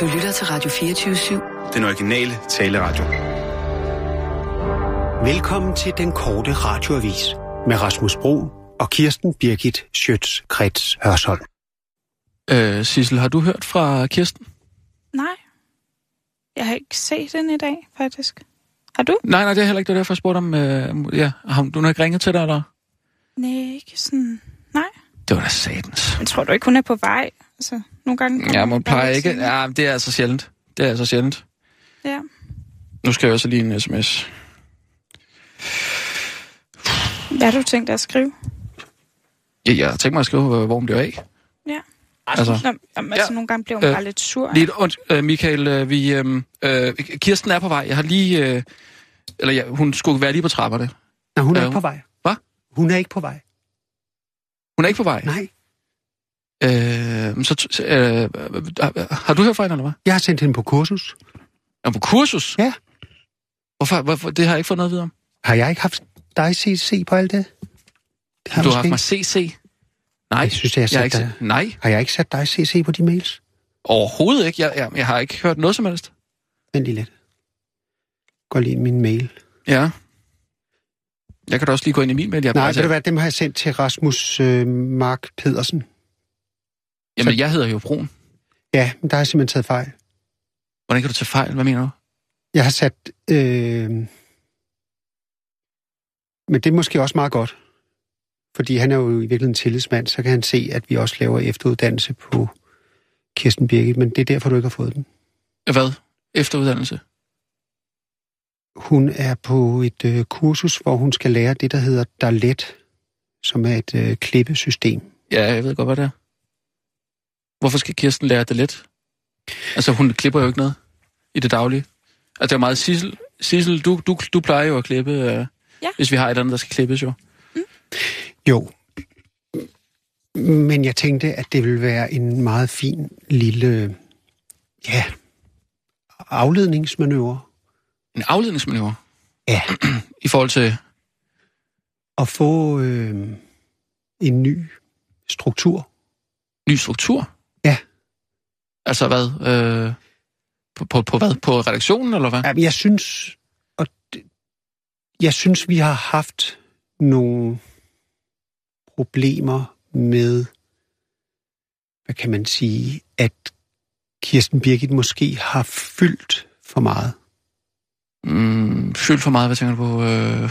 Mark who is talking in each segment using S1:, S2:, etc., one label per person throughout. S1: Du lytter til Radio 24-7.
S2: Den originale taleradio.
S3: Velkommen til den korte radioavis med Rasmus Bro og Kirsten Birgit Schøtz-Krets Hørsholm.
S4: Øh, Sissel, har du hørt fra Kirsten?
S5: Nej. Jeg har ikke set den i dag, faktisk. Har du?
S4: Nej, nej, det er heller ikke det, er derfor jeg spurgte om. Øh, ja, har hun- du har ikke ringet til dig, eller?
S5: Nej, ikke sådan... Nej.
S4: Det var da satans.
S5: Men tror du ikke, hun er på vej? Altså, nogle gange...
S4: Ja, man plejer ikke.
S5: Ja.
S4: Ja, det er altså sjældent. Det er altså sjældent.
S5: ja.
S4: Nu skal jeg også lige en sms.
S5: Hvad har du tænkt dig at skrive?
S4: Ja, jeg tænker mig at skrive, øh, hvor hun bliver af.
S5: Ja.
S4: Altså,
S5: Nå, jamen, altså,
S4: Ja.
S5: nogle gange bliver hun
S4: Øh,
S5: bare lidt sur.
S4: Lidt ondt, øh, Michael. Øh, vi, øh, øh, Kirsten er på vej. Jeg har lige... Øh, eller ja, hun skulle være lige på trapperne.
S3: Nej, hun er
S4: Ja,
S3: ikke
S4: hun-
S3: på vej.
S4: Hvad?
S3: Hun er ikke på vej.
S4: Hun er ikke på vej.
S3: Nej,
S4: Øh, så, t- øh, har- har du hørt fra hende, eller hvad?
S3: jeg har sendt hende på kursus.
S4: Er hun på kursus?
S3: Ja.
S4: Hvorfor, hvorfor? Det har jeg ikke fået noget at vide om.
S3: Har jeg ikke haft dig CC på alt det? det
S4: Har du har haft
S3: måske
S4: mig CC? Nej.
S3: Jeg synes, jeg har
S4: jeg har
S3: set
S4: ikke,
S3: dig.
S4: se- Nej,
S3: Har jeg ikke sat dig CC på de mails?
S4: overhovedet ikke. Jeg, jeg, jeg har ikke hørt noget som helst.
S3: Vent lige lidt. Gå lige ind i min mail.
S4: Ja. Jeg kan da også lige gå ind i min mail. Jeg
S3: Nej,
S4: plejer
S3: ved
S4: til-
S3: du hvad, dem har jeg sendt til Rasmus øh, Mark Pedersen.
S4: Jamen, jeg hedder jo Brun.
S3: Ja, men der har jeg simpelthen taget fejl.
S4: Hvordan kan du tage fejl? Hvad mener du?
S3: Jeg har sat... Øh... Men det er måske også meget godt. Fordi han er jo i virkeligheden tillidsmand, så kan han se, at vi også laver efteruddannelse på Kirsten Birgit, men det er derfor, du ikke har fået den.
S4: Hvad? Efteruddannelse?
S3: Hun er på et øh, kursus, hvor hun skal lære det, der hedder Dalet, som er et øh, klippesystem.
S4: Ja, jeg ved godt, hvad det er. Hvorfor skal Kirsten lære det lidt? Altså, hun klipper jo ikke noget i det daglige. Altså, det er jo meget Sissel. Sissel, du, du, du plejer jo at klippe, øh,
S5: Ja.
S4: hvis vi har et eller andet, der skal klippes jo.
S3: Jo. Men jeg tænkte, at det ville være en meget fin lille ja, afledningsmanøvre
S4: En afledningsmanøvre.
S3: Ja.
S4: I forhold til...
S3: at få øh, en ny struktur.
S4: ny struktur?
S3: Ja.
S4: Altså hvad? Øh, på, på, på hvad? På redaktionen, eller hvad?
S3: Jamen, jeg synes, og det, jeg synes, vi har haft nogle problemer med, hvad kan man sige, at Kirsten Birgit måske har fyldt for meget.
S4: Mm, fyldt for meget, hvad tænker du på? Øh,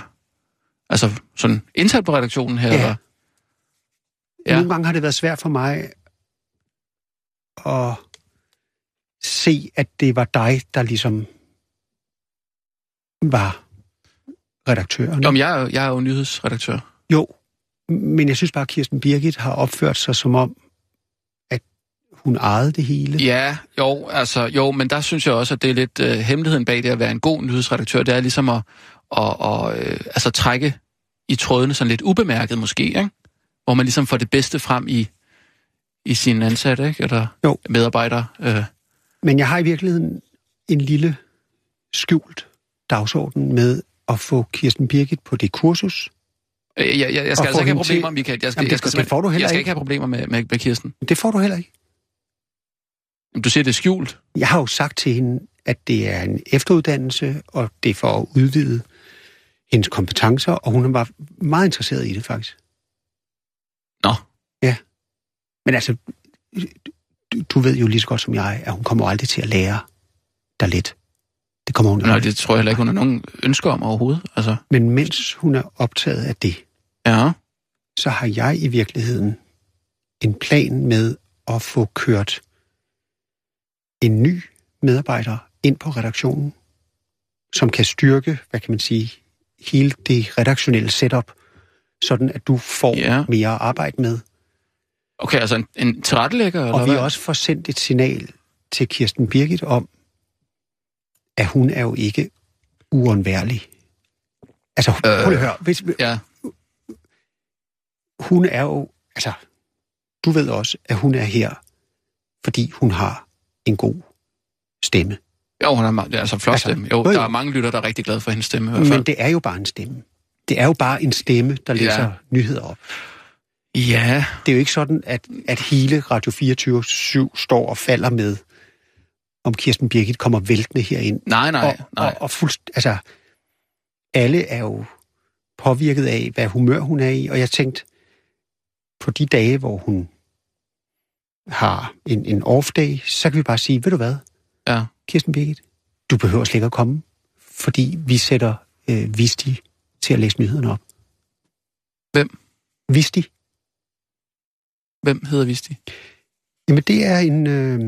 S4: altså sådan internt på redaktionen her?
S3: Ja.
S4: Eller?
S3: Ja.
S4: Ja.
S3: Nogle gange har det været svært for mig at se, at det var dig, der ligesom var redaktøren.
S4: Jamen, jeg, er jo- jeg er jo nyhedsredaktør.
S3: Jo, men jeg synes bare, at Kirsten Birgit har opført sig som om, at hun ejede det hele.
S4: Ja, jo, altså, jo, men der synes jeg også, at det er lidt øh, hemmeligheden bag det at være en god nyhedsredaktør. Det er ligesom at, at, at øh, altså, trække i trådene sådan lidt ubemærket måske, ikke? hvor man ligesom får det bedste frem i, i sine ansatte, ikke? eller
S3: Jo.
S4: medarbejdere. Øh.
S3: Men jeg har i virkeligheden en lille skjult dagsorden med at få Kirsten Birgit på det kursus.
S4: Øh, Jeg, jeg, jeg
S3: Og
S4: skal
S3: få
S4: altså ikke have
S3: hende til-
S4: problemer, til... Michael. Jeg skal,
S3: Jamen, det-
S4: jeg skal,
S3: det
S4: simpelthen-
S3: får du heller
S4: jeg skal
S3: ikke.
S4: ikke have problemer med, med, med Kirsten.
S3: Men det får du heller ikke.
S4: Jamen, Du siger, det er skjult.
S3: Jeg har jo sagt til hende, at det er en efteruddannelse, og det er for at udvide hendes kompetencer, og hun var meget interesseret i det faktisk.
S4: Nå.
S3: Ja. Men altså, du, du ved jo lige så godt som jeg, at hun kommer jo aldrig til at lære dig lidt. Det kommer hun jo
S4: Nej,
S3: aldrig.
S4: det tror jeg heller ikke, hun har nogen ønsker om overhovedet. Altså,
S3: Men mens hun er optaget af det,
S4: ja.
S3: så har jeg i virkeligheden en plan med at få kørt en ny medarbejder ind på redaktionen, som kan styrke, hvad kan man sige, hele det redaktionelle setup, sådan at du får
S4: Ja.
S3: ja. mere at arbejde med.
S4: Okay, altså en, en tilrettelægger, eller
S3: Og vi
S4: hvad?
S3: også får sendt et signal til Kirsten Birgit om, at hun er jo ikke uundværlig. Altså, prøv lige at høre. Hvis,
S4: Ja,
S3: hun er jo, altså, du ved også, at hun er her, fordi hun har en god stemme.
S4: jo, hun har meget, altså flot
S3: Altså,
S4: altså, stemme. Jo,
S3: jo, jo.
S4: der er mange lytter, der er rigtig glade for hendes stemme i hvert fald.
S3: Men det er jo bare en stemme. Det er jo bare en stemme, der
S4: Ja.
S3: læser ja. nyheder op.
S4: Ja,
S3: Det er jo ikke sådan, at, at hele Radio 24 7 står og falder med, om Kirsten Birgit kommer væltende herind.
S4: Nej, nej,
S3: og,
S4: nej.
S3: Og, og fuldst, altså, alle er jo påvirket af, hvad humør hun er i, og jeg tænkte, på de dage, hvor hun har en, en off-day, så kan vi bare sige, ved du hvad,
S4: Ja.
S3: Kirsten Birgit, du behøver slet ikke at komme, fordi vi sætter øh, Visti til at læse nyhederne op.
S4: Hvem?
S3: Visti.
S4: Hvem hedder Visti?
S3: Jamen, det er en, øh,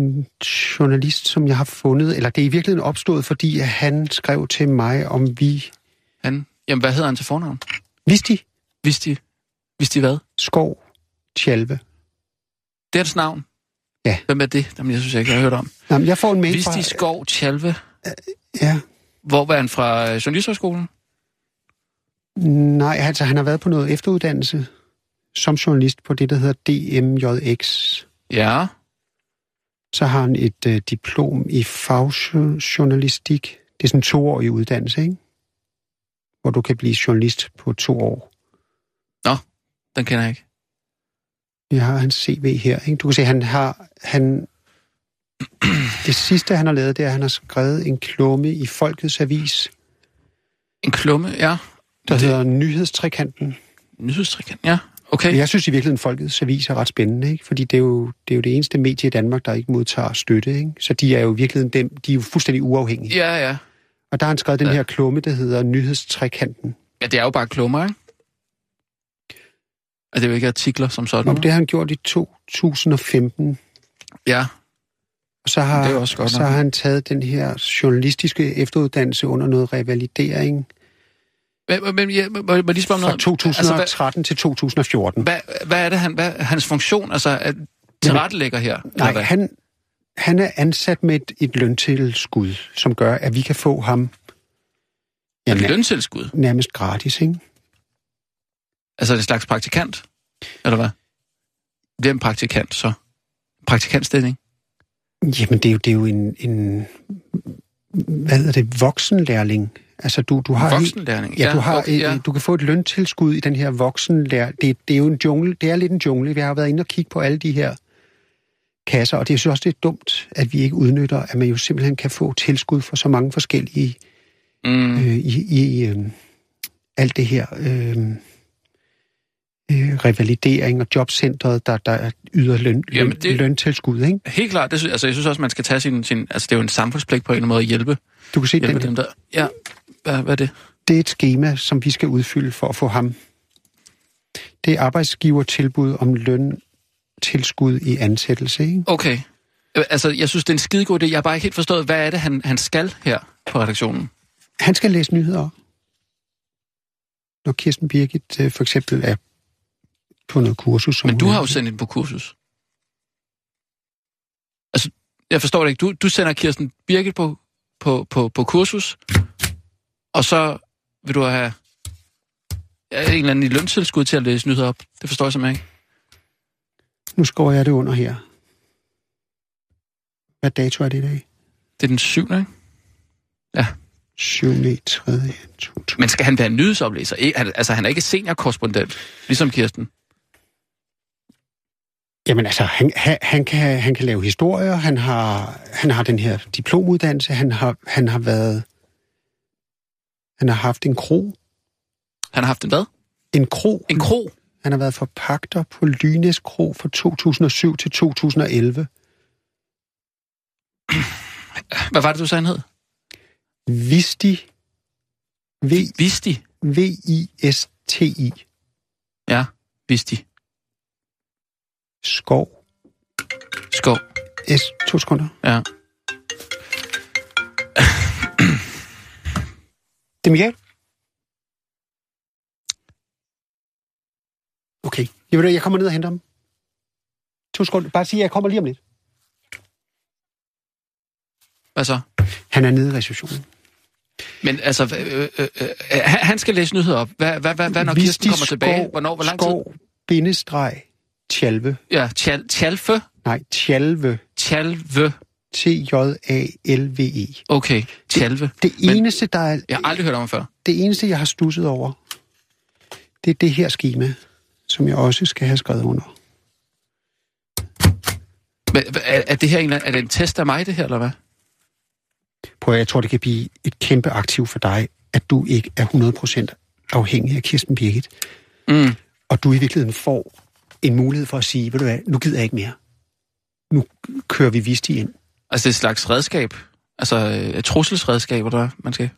S3: en journalist, som jeg har fundet, eller det er i virkeligheden opstået, fordi at han skrev til mig, om vi...
S4: Han? Jamen, hvad hedder han til fornavn?
S3: Visti
S4: Visti? Visti hvad?
S3: Skov Tjalve.
S4: Det er hans navn?
S3: Ja.
S4: Hvem er det? Jamen, jeg synes jeg ikke, jeg har hørt om.
S3: Jamen, jeg får en mail
S4: Visti
S3: fra...
S4: Skov Tjalve.
S3: Ja.
S4: Hvor var han fra? Øh, Journalisthøjskolen?
S3: Nej, altså han har været på noget efteruddannelse som journalist på det, der hedder DMJX.
S4: Ja.
S3: Så har han et øh, diplom i fagjournalistik. Det er sådan en toårig uddannelse, ikke? Hvor du kan blive journalist på to år.
S4: Den kender jeg ikke.
S3: Jeg har hans CV her, ikke? Du kan se, han har... Han, det sidste, han har lavet, det er, at han har skrevet en klumme i Folkets Avis,
S4: En klumme? Ja.
S3: der det...
S4: Det-
S3: hedder Nyhedstrikanten.
S4: Nyhedstrikken? Ja. Okay.
S3: Jeg synes i virkeligheden, Folkets Avis er ret spændende, ikke? fordi det er, jo, det er jo det eneste medie i Danmark, der ikke modtager støtte. Ikke? Så de er jo i virkeligheden dem, de er jo fuldstændig uafhængige. Ja.
S4: Ja, ja.
S3: Og der har han skrevet den
S4: Ja.
S3: her klumme, der hedder Nyhedstrækanten.
S4: Ja, det er jo bare klummer, ikke? Og det er jo ikke artikler som sådan.
S3: Nå, men det har han gjort i 2015.
S4: Ja,
S3: Og så har,
S4: Det er jo også godt
S3: så
S4: nok.
S3: har han taget den her journalistiske efteruddannelse under noget revalidering
S4: men, men ja, må, må jeg lige spørge om
S3: fra
S4: noget? Altså,
S3: 2013 til 2014.
S4: hvad, hvad, hvad er det, han, hvad, hans funktion? Altså, er tilrettelægger her? eller
S3: Nej,
S4: hvad?
S3: han, han er ansat med et, et løntilskud, som gør, at vi kan få ham ja,
S4: Er det
S3: na-
S4: løntilskud?
S3: nærmest gratis, ikke?
S4: Altså en slags praktikant? Eller hvad? Hvem praktikant så? Praktikantstilling?
S3: Jamen, det er jo, det er jo en, en, hvad hedder det, voksenlærling. Altså, du, du har... helt-
S4: Voksenlærling?
S3: Ja, du, har
S4: okay, ja.
S3: et, du kan få et løntilskud i den her voksenlær. Det, det er jo en jungle. Det er lidt en jungle. Vi har jo været inde og kigge på alle de her kasser, og det jeg synes også, det er dumt, at vi ikke udnytter, at man jo simpelthen kan få tilskud for så mange forskellige
S4: Mm,
S3: øh, i, i øh, alt det her øh, øh, revalidering og jobcentret, der, der yder løn, løn,
S4: Jamen, det-
S3: det... løntilskud, ikke?
S4: helt klart. Det, sy- altså, jeg synes også, man skal tage sin, sin... Altså, det er jo en samfundspligt på en eller anden måde at hjælpe,
S3: Du kan se, den,
S4: hjælpe dem der... Ja, hvad, hvad er det?
S3: det er et schema, som vi skal udfylde for at få ham. Det er arbejdsgivertilbud om løntilskud i ansættelse, ikke?
S4: Okay. Øh, Altså, jeg synes, det er en skidegod idé. Jeg har bare ikke helt forstået, hvad er det, han, han skal her på redaktionen?
S3: Han skal læse nyheder op. Når Kirsten Birgit øh, for eksempel er på noget kursus. som
S4: Men
S3: hun
S4: du
S3: er
S4: har jo
S3: i.
S4: sendt hende på kursus. Altså, jeg forstår det ikke. Du, du sender Kirsten Birgit på, på, på, på kursus, og så vil du have ja, en eller anden i løntilskud til at læse nyheder op. Det forstår jeg simpelthen ikke.
S3: Nu skriver jeg det under her. Hvad dato er det i dag?
S4: Det er den syvende, ikke?
S3: 7. 3. 2000.
S4: Men skal han være nyhedsoplæser? Ikke- han- Altså, han er ikke seniorkorrespondent, ligesom Kirsten.
S3: Jamen altså, han, han, han, kan, han kan lave historier, han har, han har den her diplomuddannelse, han har, han har været... Han har haft en kro.
S4: Han har haft en hvad?
S3: En kro.
S4: En kro?
S3: Han har været forpagter på Lynes Kro fra 2007 til 2011.
S4: Hvad var det, du sagde, han hed?
S3: Visti. V,
S4: Visti.
S3: V-I-S-T-I.
S4: Ja, Visti.
S3: Skov.
S4: Skov.
S3: S, to sekunder.
S4: Ja.
S3: Det er Michael. Okay. Jeg, ved, jeg kommer ned og henter ham. To sekunder. Bare sig, at jeg kommer lige om lidt.
S4: Hvad så?
S3: Han er nede i recessionen.
S4: Men altså, øh, øh, øh, han han skal læse nyheder op. Hvad, hvad, hvad, hvad når
S3: Hvis
S4: Kirsten
S3: de
S4: kommer tilbage?
S3: skov-
S4: Hvornår? Hvor lang tid?
S3: Skov, bindestreg, tjalve.
S4: Ja, tjal, tjalfe.
S3: Nej, tjalve.
S4: Tjalve.
S3: T-J-A-L-V-E.
S4: Okay, tjalve.
S3: E. Det
S4: Men-
S3: eneste, der er,
S4: Jeg har aldrig hørt om ham før.
S3: det eneste, jeg har stusset over, det er det her schema, som jeg også skal have skrevet under.
S4: Men, er, er, det her en, eller anden- er det en test af mig, det her, eller hvad?
S3: Prøv at, jeg tror, det kan blive et kæmpe aktiv for dig, at du ikke er 100% afhængig af Kirsten Birgit,
S4: Mm.
S3: og du i virkeligheden får en mulighed for at sige, ved du hvad, nu gider jeg ikke mere. Nu kører vi vist ind.
S4: Altså, det er et slags redskab. Altså, øh, et trusselsredskab, eller hvad man skal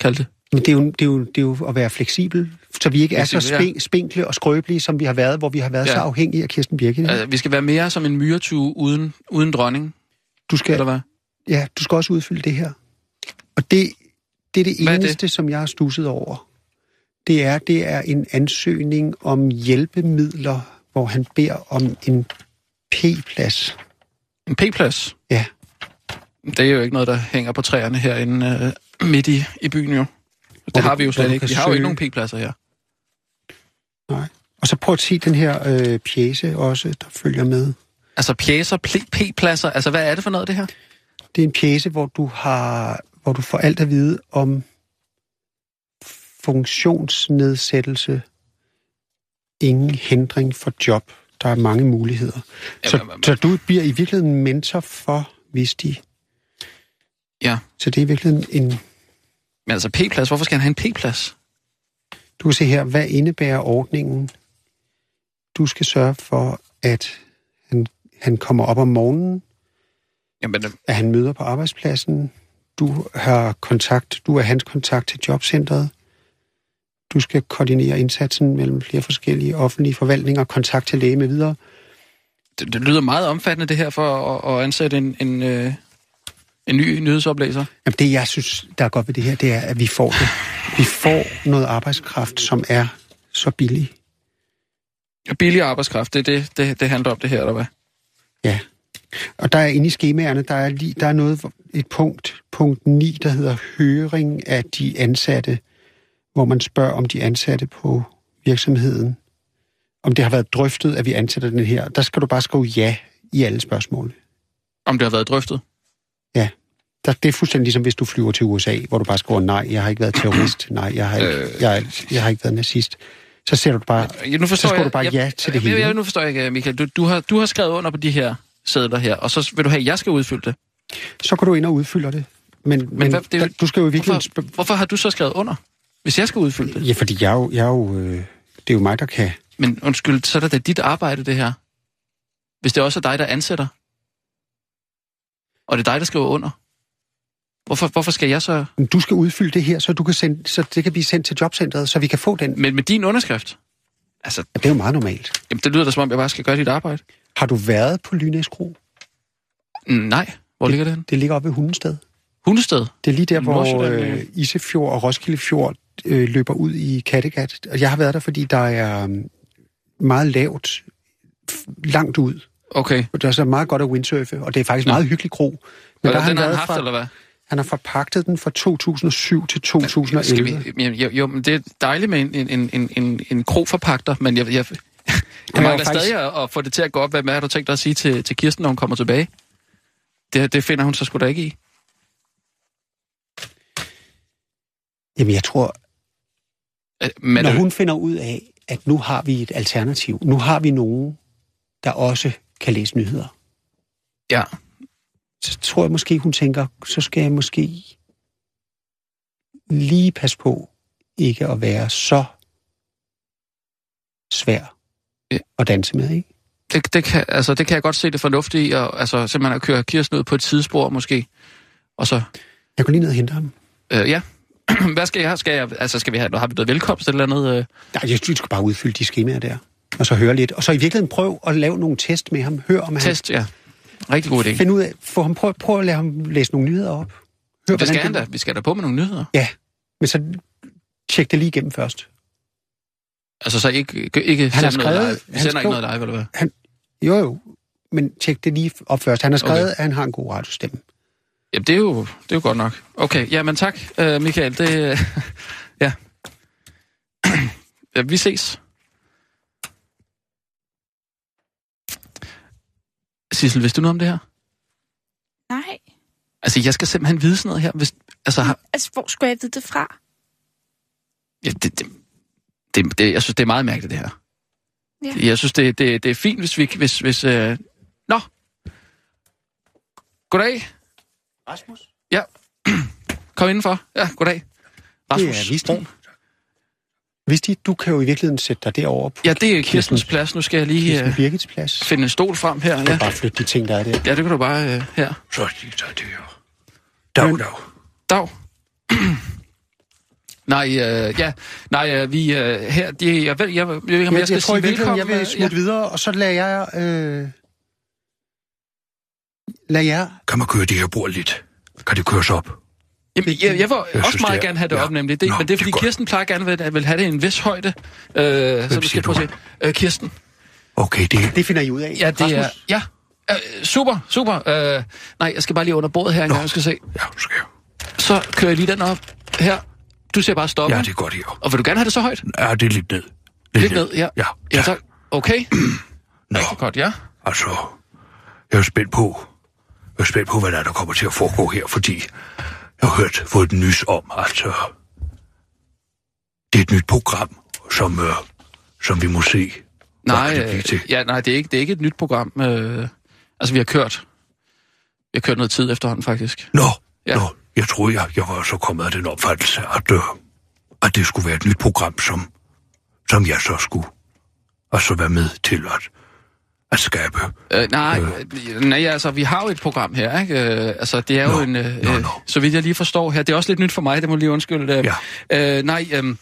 S4: kalde det.
S3: Men det er, jo, det, er jo, det er jo at være fleksibel, så vi ikke er så
S4: Fleksibel, ja.
S3: spen, spinkle og skrøbelige, som vi har været, hvor vi har været ja.
S4: Ja.
S3: så afhængige af Kirsten Birgit. ikke?
S4: Altså, vi skal være mere som en myretue uden, uden dronning,
S3: Du
S4: ja.
S3: skal,
S4: eller hvad?
S3: ja, du skal også udfylde det her. Og det, det er det
S4: Hvad er det?
S3: eneste, som jeg har stusset over. Det er, det er en ansøgning om hjælpemidler, hvor han beder om en P-plads.
S4: En p-plads.
S3: Ja.
S4: Det er jo ikke noget, der hænger på træerne herinde øh, midt i, i byen jo.
S3: Hvor
S4: Det
S3: du-
S4: har vi jo
S3: hvor
S4: slet
S3: du
S4: ikke.
S3: kan
S4: Vi har jo ikke
S3: søge-
S4: nogen p-pladser her.
S3: Og så prøv at se den her øh, pjæse også, der følger med.
S4: Altså pjæser, pl- p-pladser, altså hvad er det for noget, det her?
S3: Det er en pjæse, hvor du, har, hvor du får alt at vide om funktionsnedsættelse. Ingen hindring for job. Der er mange muligheder. så,
S4: Jamen,
S3: så du bliver i virkeligheden mentor for Visti.
S4: Ja.
S3: Så det er i virkeligheden en...
S4: Men altså p-plads, hvorfor skal han have en p-plads?
S3: Du kan se her, hvad indebærer ordningen? Du skal sørge for, at han, han kommer op om morgenen,
S4: Jamen, øh,
S3: at han møder på arbejdspladsen. Du har kontakt, du er hans kontakt til jobcentret. Du skal koordinere indsatsen mellem flere forskellige offentlige forvaltninger, kontakt til læge med videre.
S4: det, det lyder meget omfattende, det her, for at, at ansætte en, en, øh, en ny nyhedsoplæser.
S3: Jamen det, jeg synes, der er godt ved det her, det er, at vi får det. Vi får noget arbejdskraft, som er så billig.
S4: Billig arbejdskraft, det er det, det, det handler om, det her, eller hvad?
S3: Og der er inde i skemaerne, der er, lige, der er noget, hvor- et punkt, punkt 9, der hedder høring af de ansatte, hvor man spørger om de ansatte på virksomheden, om det har været drøftet, at vi ansætter den her. Der skal du bare skrive ja i alle spørgsmål.
S4: Om det har været drøftet.
S3: Der, det er fuldstændig ligesom, hvis du flyver til USA, hvor du bare skriver nej, jeg har ikke været terrorist, nej, jeg har ikke,
S4: Øh.
S3: jeg, jeg har ikke været nazist. Så sætter du bare,
S4: Ja, nu
S3: så
S4: forstår
S3: skriver
S4: jeg,
S3: du bare
S4: jeg,
S3: ja til det
S4: jeg,
S3: hele.
S4: Jeg, nu forstår jeg ikke, Michael. Du, du, har, du har skrevet under på de her sædler her, og så vil du have, at jeg skal udfylde det.
S3: så går du ind og udfylder det. Men, men, men
S4: hvad-
S3: hvad,
S4: det er jo-
S3: det, du skal jo i virkeligheden
S4: Hvorfor, hvorfor har du så skrevet under, hvis jeg skal udfylde det?
S3: Ja, fordi jeg er jo, jeg er jo øh, det er jo mig, der kan.
S4: Men undskyld, så er det da dit arbejde, det her. Hvis det også er dig, der ansætter. Og det er dig, der skriver under. Hvorfor, hvorfor skal jeg så...
S3: Men Du skal udfylde det her, så, du kan sende, så det kan blive sendt til jobcentret, så vi kan få den.
S4: Men med din underskrift? Altså,
S3: Ja, det er jo meget normalt.
S4: jamen, det lyder da som om, jeg bare skal gøre dit arbejde.
S3: Har du været på Lynæs Kro?
S4: Mm, Nej, hvor ligger det henne?
S3: Det ligger oppe ved Hundested.
S4: Hundested.
S3: Det er lige der,
S4: I
S3: hvor
S4: Nordsjælland,
S3: øh, Isefjord og Roskilde Fjord øh, løber ud i Kattegat. Og jeg har været der, fordi der er øhm, meget lavt, f- langt ud.
S4: Okay.
S3: Og der er så meget godt at windsurfe, og det er faktisk
S4: Nå.
S3: en meget hyggelig kro. Men
S4: Men
S3: der
S4: der den har han
S3: været
S4: haft,
S3: fra,
S4: eller hvad?
S3: han har forpagtet den fra 2007 til 2011.
S4: Skal vi, jamen, jo, jo, men det er dejligt med en, en, en, en, en, en krogforpagter, men jeg, jeg, jeg, jeg
S3: var
S4: mangler
S3: faktisk-
S4: stadig at, at få det til at gå op. Hvad, hvad har du tænkt dig at sige til, til Kirsten, når hun kommer tilbage? Det, det finder hun så sgu da ikke i.
S3: Jamen, jeg tror,
S4: Øh, Men
S3: Når
S4: Nå, hun...
S3: hun finder ud af, at nu har vi et alternativ, nu har vi nogen, der også kan læse nyheder,
S4: ja,
S3: så tror jeg måske, hun tænker, så skal jeg måske lige passe på ikke at være så svær
S4: Ja.
S3: at danse med, ikke?
S4: det, det, kan, altså, det kan jeg godt se det fornuftige i, og, altså, simpelthen at køre Kirsten ud på et sidespor måske. Og så,
S3: Jeg går lige ned og henter ham.
S4: øh, ja, hvad skal jeg, skal jeg, altså skal vi have, har vi noget velkomst eller noget? Øh?
S3: Nej, jeg synes, du skal bare udfylde de skemaer der, og så høre lidt. Og så i virkeligheden prøv at lave nogle test med ham. Hør om han...
S4: Test, ja. Rigtig god idé.
S3: Find ud af, få ham, prøv, prøv at lade ham læse nogle nyheder op. Hør,
S4: Hvad skal
S3: hvordan
S4: han
S3: det-
S4: da? Vi skal da på med nogle nyheder.
S3: Ja, men så tjek det lige igennem først.
S4: Altså så ikke, ikke- ikke
S3: Han har
S4: sende noget
S3: skrevet-
S4: live. Vi
S3: han
S4: sender ikke
S3: skrev-
S4: noget live, eller hvad?
S3: Jo, jo. Men tjek det lige op først. Han har skrevet, okay. at han har en god radiostemme.
S4: Jamen, det er jo, det er jo godt nok. Okay, jamen tak, øh, Michael. Det, øh, ja. ja. Vi ses. Sissel, vidste du noget om det her?
S5: Nej.
S4: Altså, jeg skal simpelthen vide sådan noget her. Hvis, altså, har,
S5: Altså, hvor skulle jeg vide det fra?
S4: ja, det, det, det, det, jeg synes, det er meget mærkeligt, det her.
S5: Ja.
S4: Jeg synes, det, det, det er fint, hvis vi... Hvis, hvis, øh, nå, Goddag.
S2: Rasmus?
S4: Ja. Kom indenfor. Ja, goddag. Rasmus
S3: Det er vist.
S4: Brun.
S3: Vidste I, du kan jo i virkeligheden sætte dig derover på
S4: Ja, det er Kirstens plads. Nu skal jeg lige
S3: Kirsten
S4: øh,
S3: Birgits plads.
S4: finde en stol frem her.
S3: Ja.
S4: Ja,
S3: Bare flytte de ting, der er der.
S4: ja det kan du bare øh, her.
S2: Så er det, så er det jo. Dag, dag.
S4: Dag. nej, øh, ja, nej, øh, vi øh, her, de, jeg, ved, jeg, jeg, ved ikke, om jeg,
S3: Ja,
S4: jeg skal sige velkommen.
S3: jeg vil
S4: øh,
S3: smutte ja. videre, og så lader jeg... Øh, lader jeg...
S2: Kan man køre det her bord lidt? Kan det køres op?
S4: Jamen, jeg, jeg vil
S2: Jeg
S4: også
S2: synes,
S4: meget
S2: det er-
S4: gerne have det
S2: ja.
S4: op, nemlig. Det, men
S2: Nå,
S4: det er,
S2: det er
S4: fordi
S2: godt.
S4: Kirsten plejer gerne vil, vil have det i en vis højde. Øh, så du
S2: siger
S4: skal prøve
S2: du?
S4: at se. Øh, Kirsten.
S2: Okay, det
S3: Det finder I ud af.
S4: Ja, det er...
S3: Rasmus,
S4: Ja. Øh, super, super. Øh, nej, jeg skal bare lige under bordet her en gang, jeg skal se.
S2: Ja, nu skal jeg.
S4: Så kører jeg lige den op her. Du ser bare stoppe.
S2: Ja, det er godt her.
S4: Og vil du gerne have det så højt?
S2: Ja, det er lidt ned.
S4: Lidt ned, ja.
S2: Ja,
S4: ja tak. Okay.
S2: Nå,
S4: Godt, ja.
S2: altså, jeg er spændt på, jeg er spændt på, hvad der, er, der kommer til at foregå her, fordi jeg har hørt, fået den nys om, altså, det er et nyt program, som, øh, som vi må se. Hvad
S4: Nej,
S2: kan det blive til?
S4: øh, ja, nej det, er ikke, det er ikke et nyt program. Øh, altså, vi har kørt. Vi har kørt noget tid efterhånden, faktisk.
S2: Nå,
S4: Ja.
S2: ja. nå, jeg troede, jeg, jeg var så kommet af den opfattelse, at, øh, at det skulle være et nyt program, som, som jeg så skulle, og så være med til at, at skabe.
S4: Øh, nej, øh. nej, altså, vi har jo et program her, ikke? Øh, altså, det er jo
S2: Nå,
S4: en... Øh,
S2: nå,
S4: øh,
S2: nå.
S4: Så vidt jeg lige forstår her. Det er også lidt nyt for mig, det må jeg lige undskylde. Øh, ja. øh, nej, øh,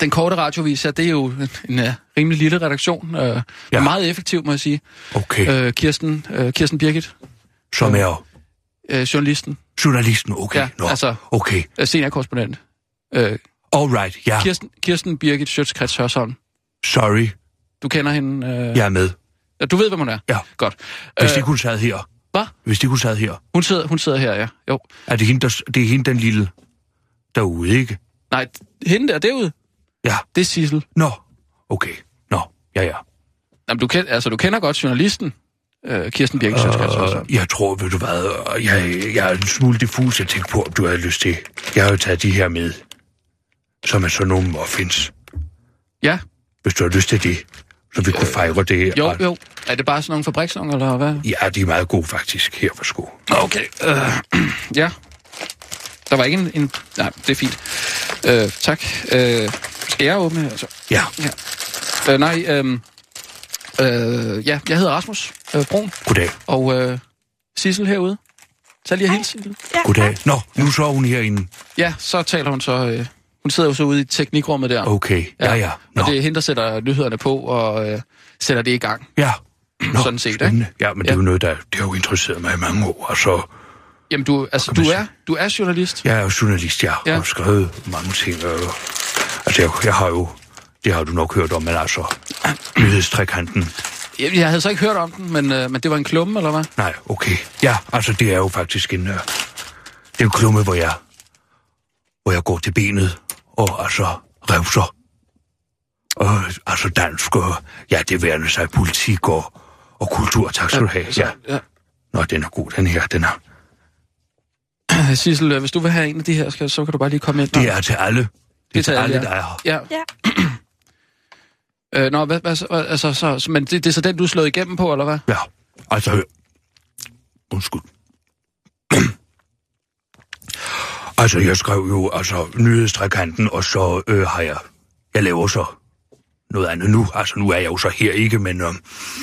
S4: den korte radiovis her, det er jo en, en øh, rimelig lille redaktion. Øh, ja.
S2: Ja.
S4: Meget effektiv, må jeg sige.
S2: Okay, øh.
S4: Øh, Kirsten, øh, Kirsten Birgit,
S2: som er
S4: øh, journalisten,
S2: journalisten, okay,
S4: Ja,
S2: ja, nå,
S4: altså-
S2: altså. okay,
S4: øh, seniorkorrespondent. Øh,
S2: all right, ja,
S4: Kirsten, Kirsten Birgit Sjøtskrets Hørsholm.
S2: sorry,
S4: Du kender hende. Øh,
S2: jeg er med.
S4: ja. Du ved, hvem hun er.
S2: Ja.
S4: Godt.
S2: Hvis
S4: Øh,
S2: øh. ikke hun sad her,
S4: Hvad?
S2: hvis ikke hun sad her,
S4: Hun sidder, hun sidder her, ja. Jo.
S2: er det hende, der, det er hende den lille derude, ikke?
S4: Nej, hende der derude,
S2: Ja,
S4: det er Sissel.
S2: nå, okay, nå, ja, ja.
S4: Jamen, du, kend, altså, du kender godt journalisten, øh, Kirsten Birke øh, Sjøtskrets
S2: Øh, jeg tror, ved du hvad, øh, jeg, jeg er en smule diffus, jeg tænker på, om du havde lyst til. Jeg har jo taget de her med, som er sådan nogle muffins.
S4: Ja,
S2: Hvis du har lyst til det, så vi kunne fejre det her.
S4: jo, jo. Er det bare sådan nogle fabriksnonger, eller hvad?
S2: Ja, de er meget gode faktisk. Her for sko.
S4: Okay. Øh, ja. Der var ikke en... en nej, det er fint. Øh, tak. Øh, skal jeg åbne? Altså?
S2: Ja,
S4: Øh, nej, øh, øh, ja, jeg hedder Rasmus øh, Brun,
S2: goddag.
S4: og øh, Sissel herude. Så lige helt Sissel.
S5: Ja,
S2: Goddag. Nå, nu så er hun herinde.
S4: Ja, så taler hun så... Øh, hun sidder jo så ude i teknikrummet der.
S2: Okay, ja, ja. Nå,
S4: Og det er hende, der sætter nyhederne på og øh, sætter det i gang.
S2: ja. Nå,
S4: sådan set, ikke?
S2: spændende. Ja, men det er jo noget, der det har jo interesseret mig i mange år. Og så,
S4: Jamen, du, altså, du,
S2: man
S4: er, du er journalist.
S2: jeg er jo journalist, jeg
S4: Ja.
S2: har skrevet mange ting. Øh. Altså, jeg, jeg har jo, det har du nok hørt om, men altså, nyhedstrækanten,
S4: Jeg, jeg havde så ikke hørt om den, men, øh, men det var en klumme, eller hvad?
S2: Nej, okay. Ja, altså det er jo faktisk en, øh, det er en klumme, hvor jeg, hvor jeg går til benet og altså revser. Og altså dansk og, ja, det værende sig politik og, og kultur. Tak skal du have. Ja.
S4: ja.
S2: Nå, den er god, den her, den er.
S4: Øh, Sissel, øh, hvis du vil have en af de her, skal, så kan du bare lige komme ind.
S2: Det er til alle. Det er til alle, der er her.
S4: Ja.
S5: Ja.
S4: Øh, nå, hvad, hvad, så- hvad, altså, så, så, men det, det er så den, du er slået igennem på, eller hvad?
S2: Ja, altså... hør. Undskyld. altså, jeg skrev jo altså nyhedstrækanten, og så øh, har jeg... Jeg laver så noget andet nu. Altså, nu er jeg jo så her ikke, men... Øh,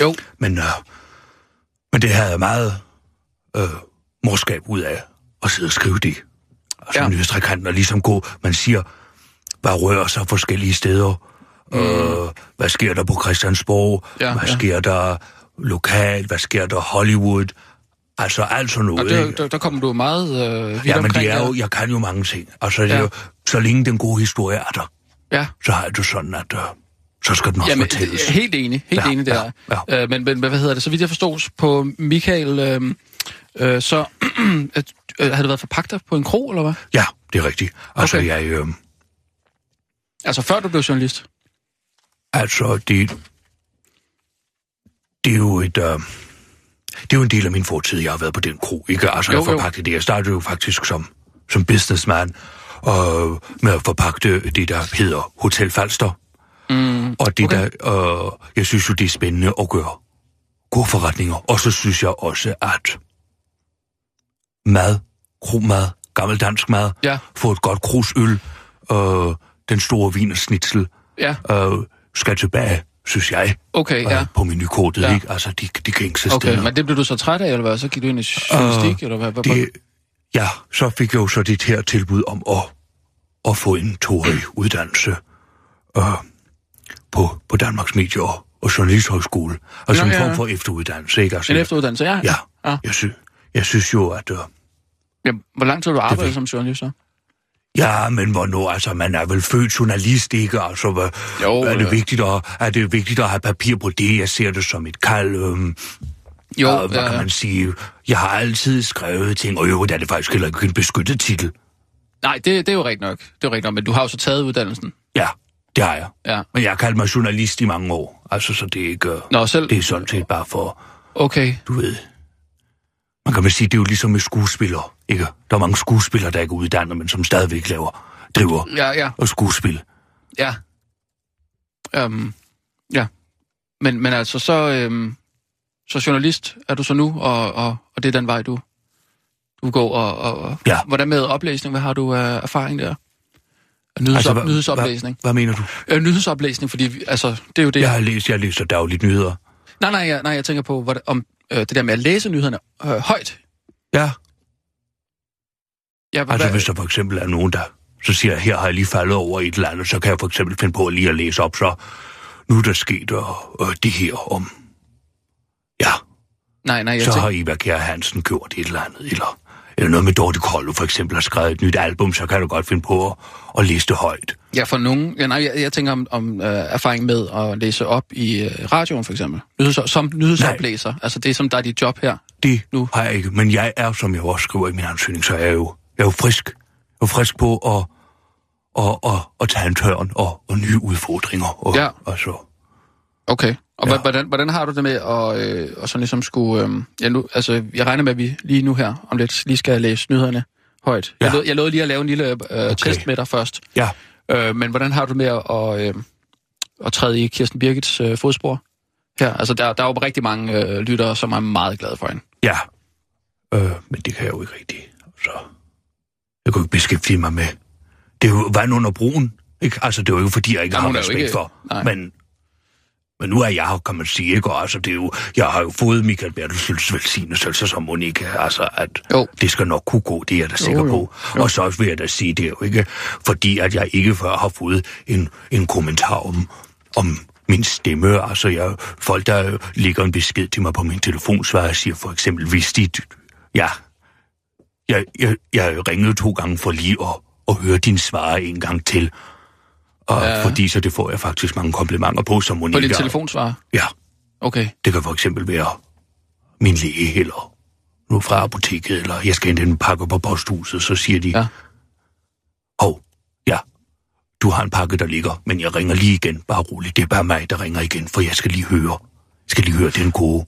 S4: Jo.
S2: men, øh, men det havde jeg meget øh, morskab ud af at sidde og skrive det. Altså,
S4: Ja.
S2: ja. nyhedstrækanten og ligesom gå... Man siger, hvad rører sig forskellige steder? Mm. Øh, hvad sker der på Christiansborg?
S4: Ja,
S2: hvad
S4: ja.
S2: sker der lokalt? Hvad sker der Hollywood? Altså alt sådan
S4: Og
S2: noget.
S4: der,
S2: ikke?
S4: der, der kommer du meget øh, vidt
S2: ja, men
S4: omkring.
S2: det er
S4: ja.
S2: jo, jeg kan jo mange ting. Altså, det er
S4: Ja.
S2: jo, så længe den gode historie er der,
S4: Ja.
S2: så har jeg det sådan, at øh, så skal den også
S4: Jamen,
S2: fortælles.
S4: øh, helt enig, helt
S2: Ja,
S4: enig der.
S2: ja,
S4: Ja. Øh, men, men hvad hedder det? Så vidt jeg forstod på Michael, øh, øh, så at, øh, havde det været forpagter på en kro, eller hvad?
S2: Ja, det er rigtigt. Altså,
S4: Okay.
S2: okay. jeg... Øh,
S4: Altså før du blev journalist?
S2: Altså, det, det er jo et... Øh, det er jo en del af min fortid, jeg har været på den kro, ikke? Altså,
S4: Jo,
S2: jo, jeg
S4: jo.
S2: forpagte det. Jeg startede jo faktisk som, som businessman og med at forpagte det, der hedder Hotel Falster. Mm, og det
S4: okay.
S2: okay. der, øh, jeg synes jo, det er spændende at gøre gode forretninger. Og så synes jeg også, at mad, kromad, gammel dansk mad,
S4: Ja.
S2: få et godt krusøl, øh, den store vinersnitzel
S4: Ja,
S2: øh, skal tilbage, synes jeg,
S4: okay,
S2: øh,
S4: ja.
S2: på menukortet,
S4: Ja.
S2: ja. ikke? Altså, de, de gængse
S4: Okay,
S2: steder.
S4: men det blev du så træt af, eller hvad? Så gik du ind i journalistik, eller hvad? hvad-
S2: Øh, det, ja, så fik jeg jo så det her tilbud om at, at få en toårig uddannelse øh, på, på Danmarks Medie- og, og Journalisthøjskole. Altså
S4: Nå,
S2: en
S4: ja,
S2: form
S4: ja.
S2: for efteruddannelse, ikke? Altså,
S4: En efteruddannelse, ja.
S2: Ja,
S4: Ja.
S2: Jeg, sy, jeg synes jo, at... Øh,
S4: ja. Hvor lang tid har du
S2: ved
S4: arbejdet
S2: jeg.
S4: som journalist så?
S2: Ja, men hvornår? Altså, man er vel født journalist, ikke? Altså, hvad,
S4: Jo,
S2: er,
S4: øh.
S2: det vigtigt at, er det vigtigt at have papir på det? Jeg ser det som et kald. Øhm,
S4: Jo,
S2: og, hvad
S4: ja,
S2: kan
S4: ja.
S2: man sige? Jeg har altid skrevet ting, og jo, det er det faktisk heller ikke en beskyttet titel.
S4: Nej, det, det er jo rigtigt nok. Det er jo rigtigt nok, men du har jo så taget uddannelsen.
S2: Ja, det har jeg.
S4: Ja.
S2: Men jeg har kaldt mig journalist i mange år. Altså, så det er ikke... øh,
S4: Nå, selv...
S2: Det er sådan set bare for,
S4: Okay.
S2: du ved... Man kan vel sige, det er jo ligesom med skuespillere, ikke? Der er mange skuespillere, der ikke er uddannet, men som stadigvæk laver, driver
S4: Ja, ja,
S2: og skuespil.
S4: ja. Øhm, ja. Men, men altså, så, øhm, så journalist er du så nu, og, og, og det er den vej, du, du går. Og, og, og,
S2: Ja.
S4: Hvordan med oplæsning? Hvad har du af erfaring der? Nyheds,
S2: Altså,
S4: altså,
S2: hvad-
S4: nyhedsoplæsning.
S2: Hvad mener du?
S4: Øh, nyhedsoplæsning, fordi vi- altså, det er jo det,
S2: Jeg har læst, jeg læser dagligt nyheder.
S4: Nej, nej, jeg, nej, jeg tænker på, hvordan, om øh, det der med at læse nyhederne øh, højt.
S2: Ja.
S4: Ja, hvad,
S2: Altså,
S4: altså,
S2: hvis der for eksempel er nogen, der så siger, jeg, her har jeg lige faldet over et eller andet, så kan jeg for eksempel finde på lige at læse op, så nu er der sket øh, øh, det her om... Ja,
S4: nej, nej, jeg
S2: så har
S4: tænker,
S2: Ivar Kjær Hansen gjort et eller andet, eller, eller noget med Dorte Kolde for eksempel har skrevet et nyt album, så kan du godt finde på at, at læse det højt.
S4: ja, for nogen, ja, nej, jeg, jeg tænker om, om øh, erfaring med at læse op i øh, radioen, for eksempel. Nyheds, som nyhedsoplæser. Altså, det er som, der er dit job her.
S2: Det
S4: Nu.
S2: nu. har jeg ikke, men jeg er, som jeg også skriver i min ansøgning, så er jeg jo, jeg er jo frisk. Jeg er frisk på at, og, og, at tage en tørn og, og nye udfordringer. Og,
S4: Ja.
S2: og så.
S4: Okay. Og
S2: Ja.
S4: ja. hvordan, hvordan har du det med at øh, og sådan ligesom skulle... Øh, ja, nu, altså, jeg regner med, at vi lige nu her om lidt lige skal læse nyhederne højt. Ja. Jeg,
S2: Ja.
S4: lod, jeg lovede lige at lave en lille øh, okay. test med dig først.
S2: Ja.
S4: Øh, men hvordan har du det med at, øh, at træde i Kirsten Birgits øh, fodspor? Her, altså der, der er jo rigtig mange øh, lyttere, som er meget glade for hende.
S2: Ja. Øh, men det kan jeg jo ikke rigtig. Så jeg kunne ikke beskæftige mig med. Det er jo vand under broen. Ikke? Altså, det er jo ikke, fordi jeg ikke
S4: Nej,
S2: har
S4: hun er jo
S2: respekt
S4: ikke-
S2: for.
S4: nej.
S2: Men, men nu er jeg her, kan man sige. Ikke? Og altså, det er jo, jeg har jo fået Michael Bertelsens velsignelse, altså, som hun ikke. Altså, at
S4: Jo.
S2: det skal nok kunne gå, det er jeg da sikker
S4: jo.
S2: på. Og så vil jeg da sige, det er jo ikke, fordi at jeg ikke før har fået en, en kommentar om, om min stemme. Altså, jeg, folk, der ligger en besked til mig på min telefonsvarer, siger for eksempel, hvis de... Ja, jeg, jeg, jeg ringede to gange for lige at, at høre din svar en gang til. Og
S4: Ja.
S2: ja. fordi så det får jeg faktisk mange komplimenter på, som Monika...
S4: På din telefonsvarer.
S2: Ja,
S4: Okay.
S2: det kan for eksempel være min læge eller nu fra apoteket, eller jeg skal hente en pakke på posthuset, så siger de,
S4: Ja.
S2: hov, ja, du har en pakke, der ligger, men jeg ringer lige igen, bare roligt, det er bare mig, der ringer igen, for jeg skal lige høre, jeg skal lige høre den gode.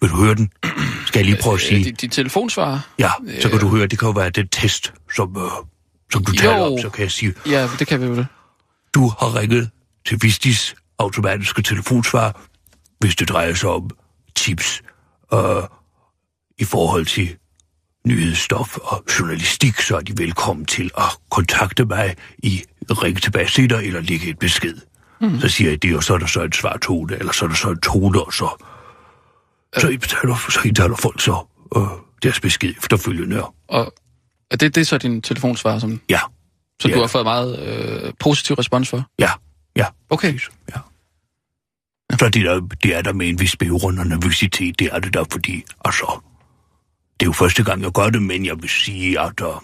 S2: Vil du høre den? Skal jeg lige prøve at
S4: Øh,
S2: sige?
S4: din, din telefonsvarer?
S2: Ja, så kan du høre, det kan jo være den test, som, øh, som du
S4: Jo.
S2: taler om, så kan jeg sige,
S4: Ja, det kan vi vel.
S2: du har ringet til Vistis automatiske telefonsvar, hvis det drejer sig om tips øh, i forhold til nyhedsstof og journalistik, så er de velkommen til at kontakte mig i ring tilbage senere eller lægge et besked. Mm. Så siger jeg det, og så er der så en svar tone, eller så er der så en tone, og så, så, indtaler, så indtaler folk så øh, deres besked efterfølgende.
S4: Og er det, det er så din telefonsvarer, som,
S2: Ja,
S4: som
S2: Ja.
S4: du har fået meget øh, positiv respons for?
S2: ja, ja.
S4: Okay.
S2: Ja. Så det, der, det er der med en vis bevrund og nervøsitet, det er det der, fordi, altså, det er jo første gang, jeg gør det, men jeg vil sige, at uh,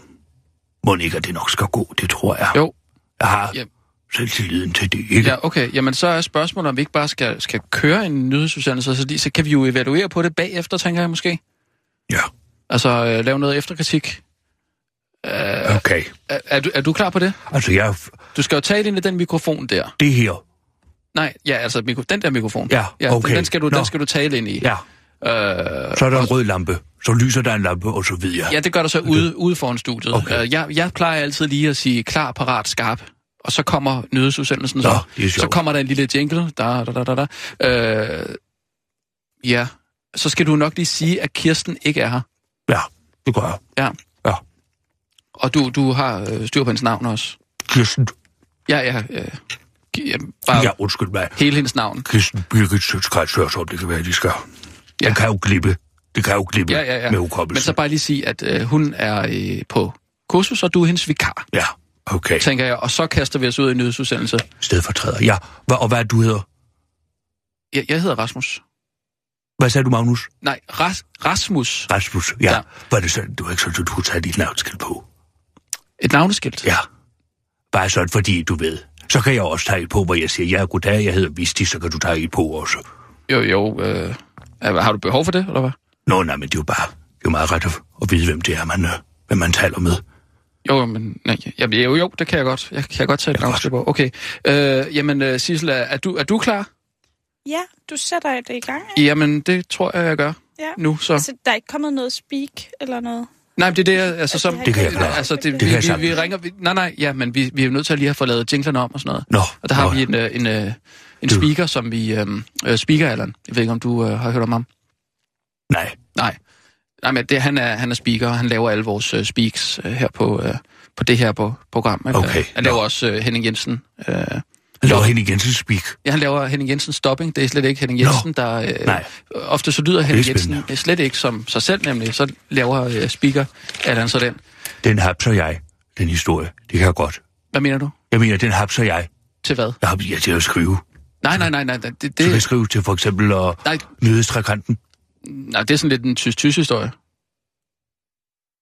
S2: Monika, det nok skal gå, det tror jeg.
S4: Jo.
S2: Jeg har
S4: Ja.
S2: yep. selvtilliden til det, ikke?
S4: Ja, okay. Jamen, så er spørgsmålet, om vi ikke bare skal, skal køre en nyhedsudsendelse, så, lige- så kan vi jo evaluere på det bagefter, tænker jeg måske.
S2: Ja,
S4: Altså, øh, lave noget efterkritik.
S2: okay.
S4: Er, er, du, er du klar på det?
S2: Altså, jeg,
S4: Du skal jo tale ind i den mikrofon der.
S2: det her,
S4: Nej, ja, altså mikro, den der mikrofon.
S2: Ja, okay.
S4: Den, den, skal du,
S2: Nå.
S4: den skal du tale ind i.
S2: ja,
S4: Øh,
S2: så er der en rød lampe, så lyser der en lampe, og så videre.
S4: ja, det gør du så ude, ude foran studiet.
S2: Okay.
S4: Øh, jeg, jeg plejer altid lige at sige klar, parat, skarp. Og så kommer nyhedsudsendelsen.
S2: Nå,
S4: så,
S2: det er sjovt.
S4: så kommer der en lille jingle. Da, da, da, da, da. Øh, ja, så skal du nok lige sige, at Kirsten ikke er her.
S2: Ja, det gør jeg.
S4: Og du, du har øh, styr på hendes navn også.
S2: Kirsten,
S4: Ja, ja. Øh, gi- ja, bare ja.
S2: ja, undskyld mig.
S4: hele hendes navn.
S2: Kirsten Birgit Søtskrets Hørsholm, det kan være, de skal. Ja.
S4: Ja.
S2: Det kan jo glippe. Det kan jo glippe
S4: Ja, ja, ja.
S2: med
S4: Men
S2: hukommelsen.
S4: så bare lige sige, at øh, hun er øh, på kursus, og du er hendes vikar,
S2: Ja, okay.
S4: tænker jeg. Og så kaster vi os ud i en nyhedsudsendelse.
S2: Stedfortræder. Ja, Hva, og hvad er du hedder?
S4: Jeg, jeg hedder Rasmus.
S2: Hvad sagde du, Magnus?
S4: Nej, Ras, Rasmus.
S2: Rasmus. Ja. ja.
S4: Ja.
S2: Var det sådan, du var ikke sådan, at du kunne tage dit navnskilt på?
S4: Et navneskilt.
S2: Ja. Bare sådan, fordi du ved. Så kan jeg også tage et på, hvor jeg siger, ja, goddag, jeg hedder Visti, så kan du tage et på også.
S4: Jo, jo. Øh, er- har du behov for det, eller hvad?
S2: Nå, nej, men det er jo bare, det er jo meget ret at, at vide, hvem det er, man, øh, hvem man taler med.
S4: Jo, jo, men nej, jamen, jo, jo, det kan jeg godt. Jeg kan godt tage et
S2: Ja, godt.
S4: navnskilt på. Okay. Øh, jamen, øh, Sissel, er, er, du, er du klar?
S5: Ja, du sætter det i gang, ikke?
S4: Jamen, det tror jeg, jeg gør
S5: Ja.
S4: nu. Så.
S5: Så der er ikke kommet noget speak eller noget?
S4: Nej, men det er det, jeg- altså, som...
S5: har
S2: Det kan jeg
S5: ikke-
S2: klare.
S4: Altså, det,
S2: kan jeg
S4: det vi, vi,
S2: sagtens.
S4: vi ringer... Vi, nej, nej, ja, men vi, vi er jo nødt til at lige have fået lavet jinglerne om og sådan noget.
S2: Nå,
S4: Og der har
S2: nå,
S4: vi en, øh, en, øh, en
S2: Du-
S4: speaker, som vi... øhm, Øh, speaker, Allan. Jeg ved ikke, om du øh, har hørt om ham.
S2: Nej,
S4: Nej. Nej, men det, han, er, han er speaker, og han laver alle vores øh, speaks øh, her på, øh, på det her på, program. ikke?
S2: Okay,
S4: Han laver
S2: nå.
S4: også øh, Henning Jensen. Øh,
S2: han laver
S4: Nå.
S2: hende igen til speak.
S4: ja, han laver Henning Jensen stopping. Det er slet ikke Henning Jensen, der... Øh,
S2: Nej.
S4: Ofte så lyder Henning Jensen øh,
S2: spændende.
S4: slet ikke som sig selv, nemlig. Så laver øh, speaker Allan så den.
S2: Den hapser jeg, den historie. Det kan jeg godt.
S4: Hvad mener du?
S2: Jeg mener, den hapser jeg.
S4: Til hvad?
S2: Jeg har jeg til at skrive.
S4: Nej, nej, nej, nej. nej, Det,
S2: Så kan jeg
S4: det,
S2: skrive til for eksempel uh,
S4: nej,
S2: nyhedstrækanten,
S4: nej, det er sådan lidt en tysk-tysk historie.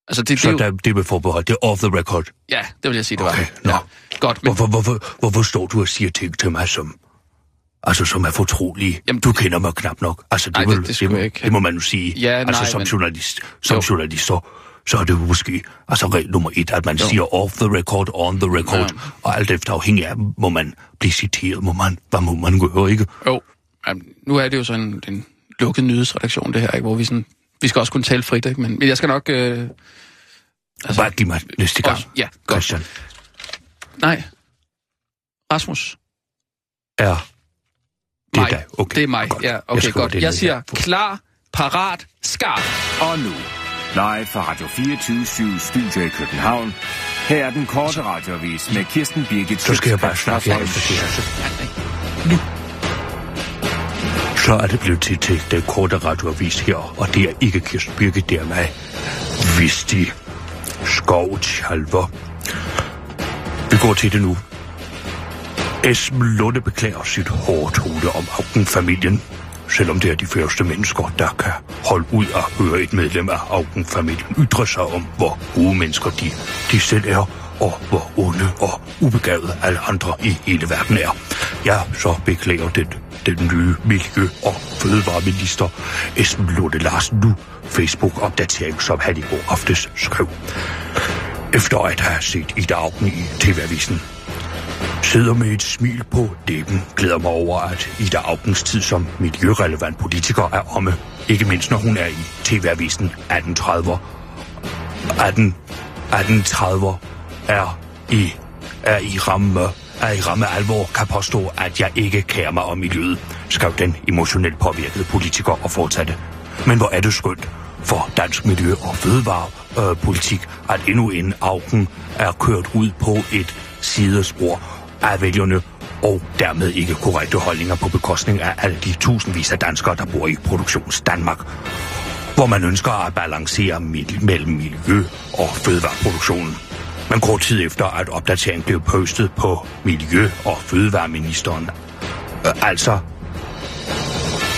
S4: Altså, det, det,
S2: så
S4: er jo,
S2: der, det er med forbehold. Det er off the record.
S4: Ja, det vil jeg sige, det
S2: Okay,
S4: var.
S2: nå.
S4: Ja, godt, men
S2: Hvorfor, hvorfor, hvorfor står du og siger ting til mig, som, altså, som er fortrolige? Jamen,
S4: Jamen,
S2: du kender mig knap nok. Altså, det,
S4: Nej,
S2: må,
S4: det- det skulle
S2: må,
S4: jeg ikke.
S2: det må man jo sige.
S4: Ja,
S2: altså,
S4: nej,
S2: som
S4: men-
S2: journalist, som
S4: Jo.
S2: journalist så, så er det jo måske altså, regel nummer et, at man jo.
S4: Jo.
S2: siger off the record, on the record, ja.
S4: Ja.
S2: og alt efter afhængig af, må man blive citeret, må man, hvad må man gøre, ikke?
S4: jo, jamen, nu er det jo sådan en, en lukket nyhedsredaktion, det her, ikke? hvor vi sådan... Vi skal også kunne tale frit, ikke? Men, men jeg skal nok... Øh,
S2: Altså, Bare giv mig næste gang,
S4: også, ja, godt.
S2: Christian.
S4: Nej. Rasmus.
S2: Er det er
S4: mig.
S2: dig? Okay,
S4: det er mig.
S2: godt.
S4: Ja,
S2: Jeg
S4: okay, jeg
S2: skriver
S4: godt.
S2: det
S4: Jeg
S2: ned
S4: siger
S2: her.
S4: klar, parat, skarp.
S6: Og nu, live fra Radio 24 Studio i København. Her er den korte radiovis med Kirsten Birgit
S2: Så skal jeg bare
S6: Schøtzgrads
S2: snakke her efter det
S6: Hasholm.
S2: her. så- Så er det blevet tid til den korte radioavis her, og det er ikke Kirsten Birgit, det er mig. Visti. Skov Tjalver. Vi går til det nu. Esben Lunde beklager sit hårde tone om Augen-familien, selvom det er de første mennesker, der kan holde ud at høre et medlem af Augen-familien ytre sig om, hvor gode mennesker de, de selv er, og hvor onde og ubegavede alle andre i hele verden er. Ja, så beklager den, den nye miljø- og fødevareminister Esben Lunde Larsen nu Facebook-opdatering, som han i går aftes skrev. Efter at have set Ida Augen i TV-avisen sidder med et smil på læben, glæder mig over, at Ida Augens tid som miljørelevant politiker er omme. Ikke mindst, når hun er i TV-avisen 1830. 18, 1830 er i, er i ramme er i ramme alvor kan påstå, at jeg ikke kærer mig om miljøet, skrev den emotionelt påvirkede politiker og fortsatte. Men hvor er det skønt for dansk miljø- og fødevarepolitik, at endnu en augen er kørt ud på et sidespor af vælgerne og dermed ikke korrekte holdninger på bekostning af alle de tusindvis af danskere, der bor i produktions Danmark, hvor man ønsker at balancere midt- mellem miljø og fødevareproduktionen. Men kort tid efter, at opdateringen blev postet på Miljø- og Fødevareministeren, øh, altså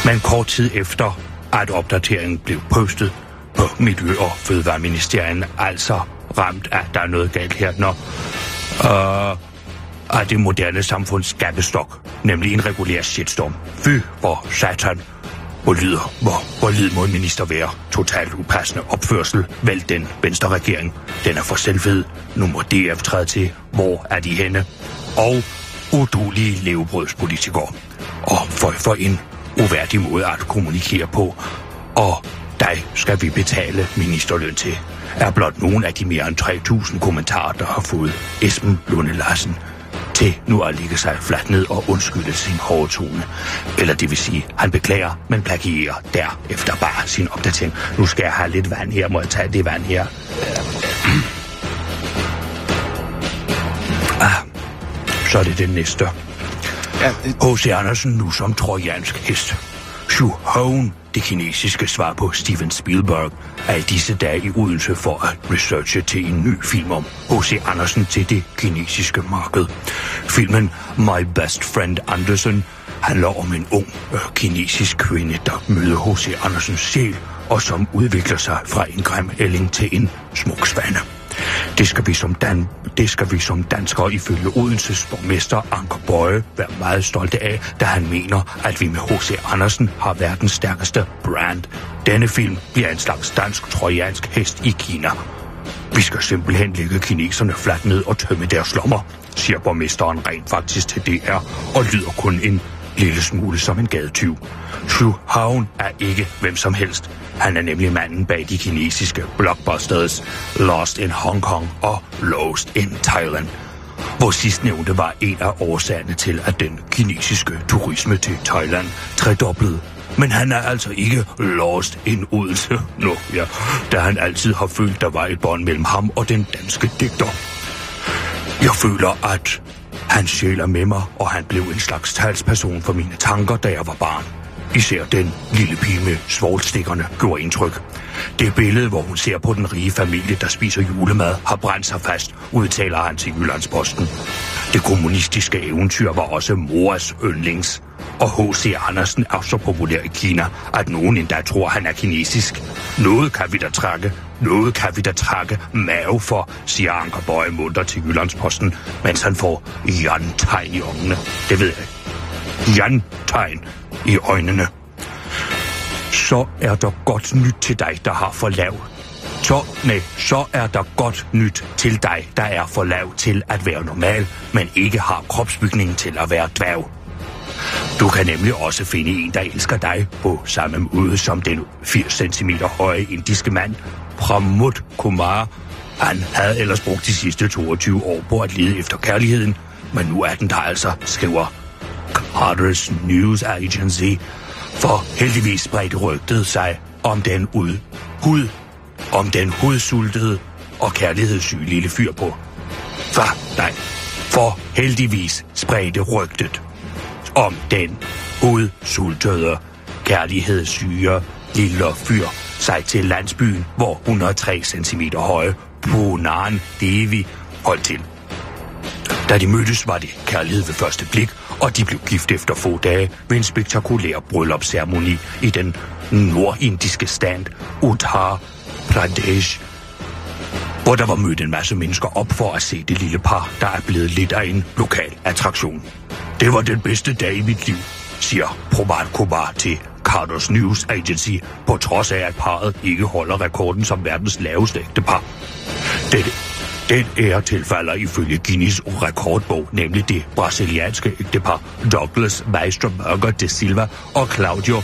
S2: men kort tid efter, at opdateringen blev postet på Miljø- og Fødevareministerien, altså ramt, at der er noget galt her, når af det moderne samfunds gabestok, nemlig en regulær shitstorm. Fy for satan. Hvor lyder, hvor, hvor lyd må en minister være? Totalt upassende opførsel. Vælg den venstre regering. Den er for selvfed. Nu må DF træde til. Hvor er de henne? Og udulige levebrødspolitikere. Og for, for en uværdig måde at kommunikere på. Og dig skal vi betale ministerløn til, er blot nogle af de mere end 3.000 kommentarer, der har fået Esben Lunde Larsen til nu at ligge sig fladt ned og undskylde sin hårde tone. Eller det vil sige, han beklager, men plagierer derefter bare sin opdatering. Nu skal jeg have lidt vand her, må jeg tage det vand her? Ah, så er det den næste.
S4: Ja, det,
S2: H.C. Andersen nu som trojansk hest. Shu Hoon, det kinesiske svar på Steven Spielberg, er i disse dage i Odense for at researche til en ny film om H.C. Andersen til det kinesiske marked. Filmen My Best Friend Andersen handler om en ung øh, kinesisk kvinde, der møder H.C. Andersens sjæl og som udvikler sig fra en grim ælling til en smuk svane. Det skal vi som, dan det skal vi som danskere ifølge Odenses borgmester Anker Bøje være meget stolte af, da han mener, at vi med H.C. Andersen har verdens stærkeste brand. Denne film bliver en slags dansk-trojansk hest i Kina. Vi skal simpelthen lægge kineserne fladt ned og tømme deres lommer, siger borgmesteren rent faktisk til DR, og lyder kun en lille smule som en gadetyv. Xu Haun er ikke hvem som helst. Han er nemlig manden bag de kinesiske blockbusters Lost in Hong Kong og Lost in Thailand. Hvor sidstnævnte var en af årsagerne til, at den kinesiske turisme til Thailand tredoblede. Men han er altså ikke lost in Odense nu, ja, da han altid har følt, der var et bånd mellem ham og den danske digter. Jeg føler, at han sjæler med mig, og han blev en slags talsperson for mine tanker, da jeg var barn. Især den lille pige med svoglstikkerne gjorde indtryk. Det billede, hvor hun ser på den rige familie, der spiser julemad, har brændt sig fast, udtaler han til Jyllandsposten. Det kommunistiske eventyr var også Moras yndlings. Og H.C. Andersen er så populær i Kina, at nogen endda tror, han er kinesisk. Noget kan vi da trække, noget kan vi da trække mave for, siger Anker Bøje munter til Jyllandsposten, mens han får jantegn i øjnene. Det ved jeg ikke. Jantegn i øjnene. Så er der godt nyt til dig, der har for lav. Så, nej, så er der godt nyt til dig, der er for lav til at være normal, men ikke har kropsbygningen til at være dværg. Du kan nemlig også finde en, der elsker dig på samme måde som den 80 cm høje indiske mand, Pramod Kumar. Han havde ellers brugt de sidste 22 år på at lede efter kærligheden, men nu er den der altså, skriver Carter's News Agency. For heldigvis spredte rygtet sig om den ud, hud, om den hudsultede og kærlighedssyge lille fyr på. For, nej, for heldigvis spredte rygtet om den hudsultede kærlighedssyge lille fyr sig til landsbyen, hvor 103 cm høje Punan Devi holdt til. Da de mødtes, var det kærlighed ved første blik, og de blev gift efter få dage ved en spektakulær bryllupsceremoni i den nordindiske stand Uttar Pradesh, hvor der var mødt en masse mennesker op for at se det lille par, der er blevet lidt af en lokal attraktion. Det var den bedste dag i mit liv, siger Promar Kumar til Carter's News Agency, på trods af, at parret ikke holder rekorden som verdens laveste ægtepar. Den, den ære tilfalder ifølge Guinness rekordbog, nemlig det brasilianske ægtepar Douglas Maestro Burger de Silva og Claudio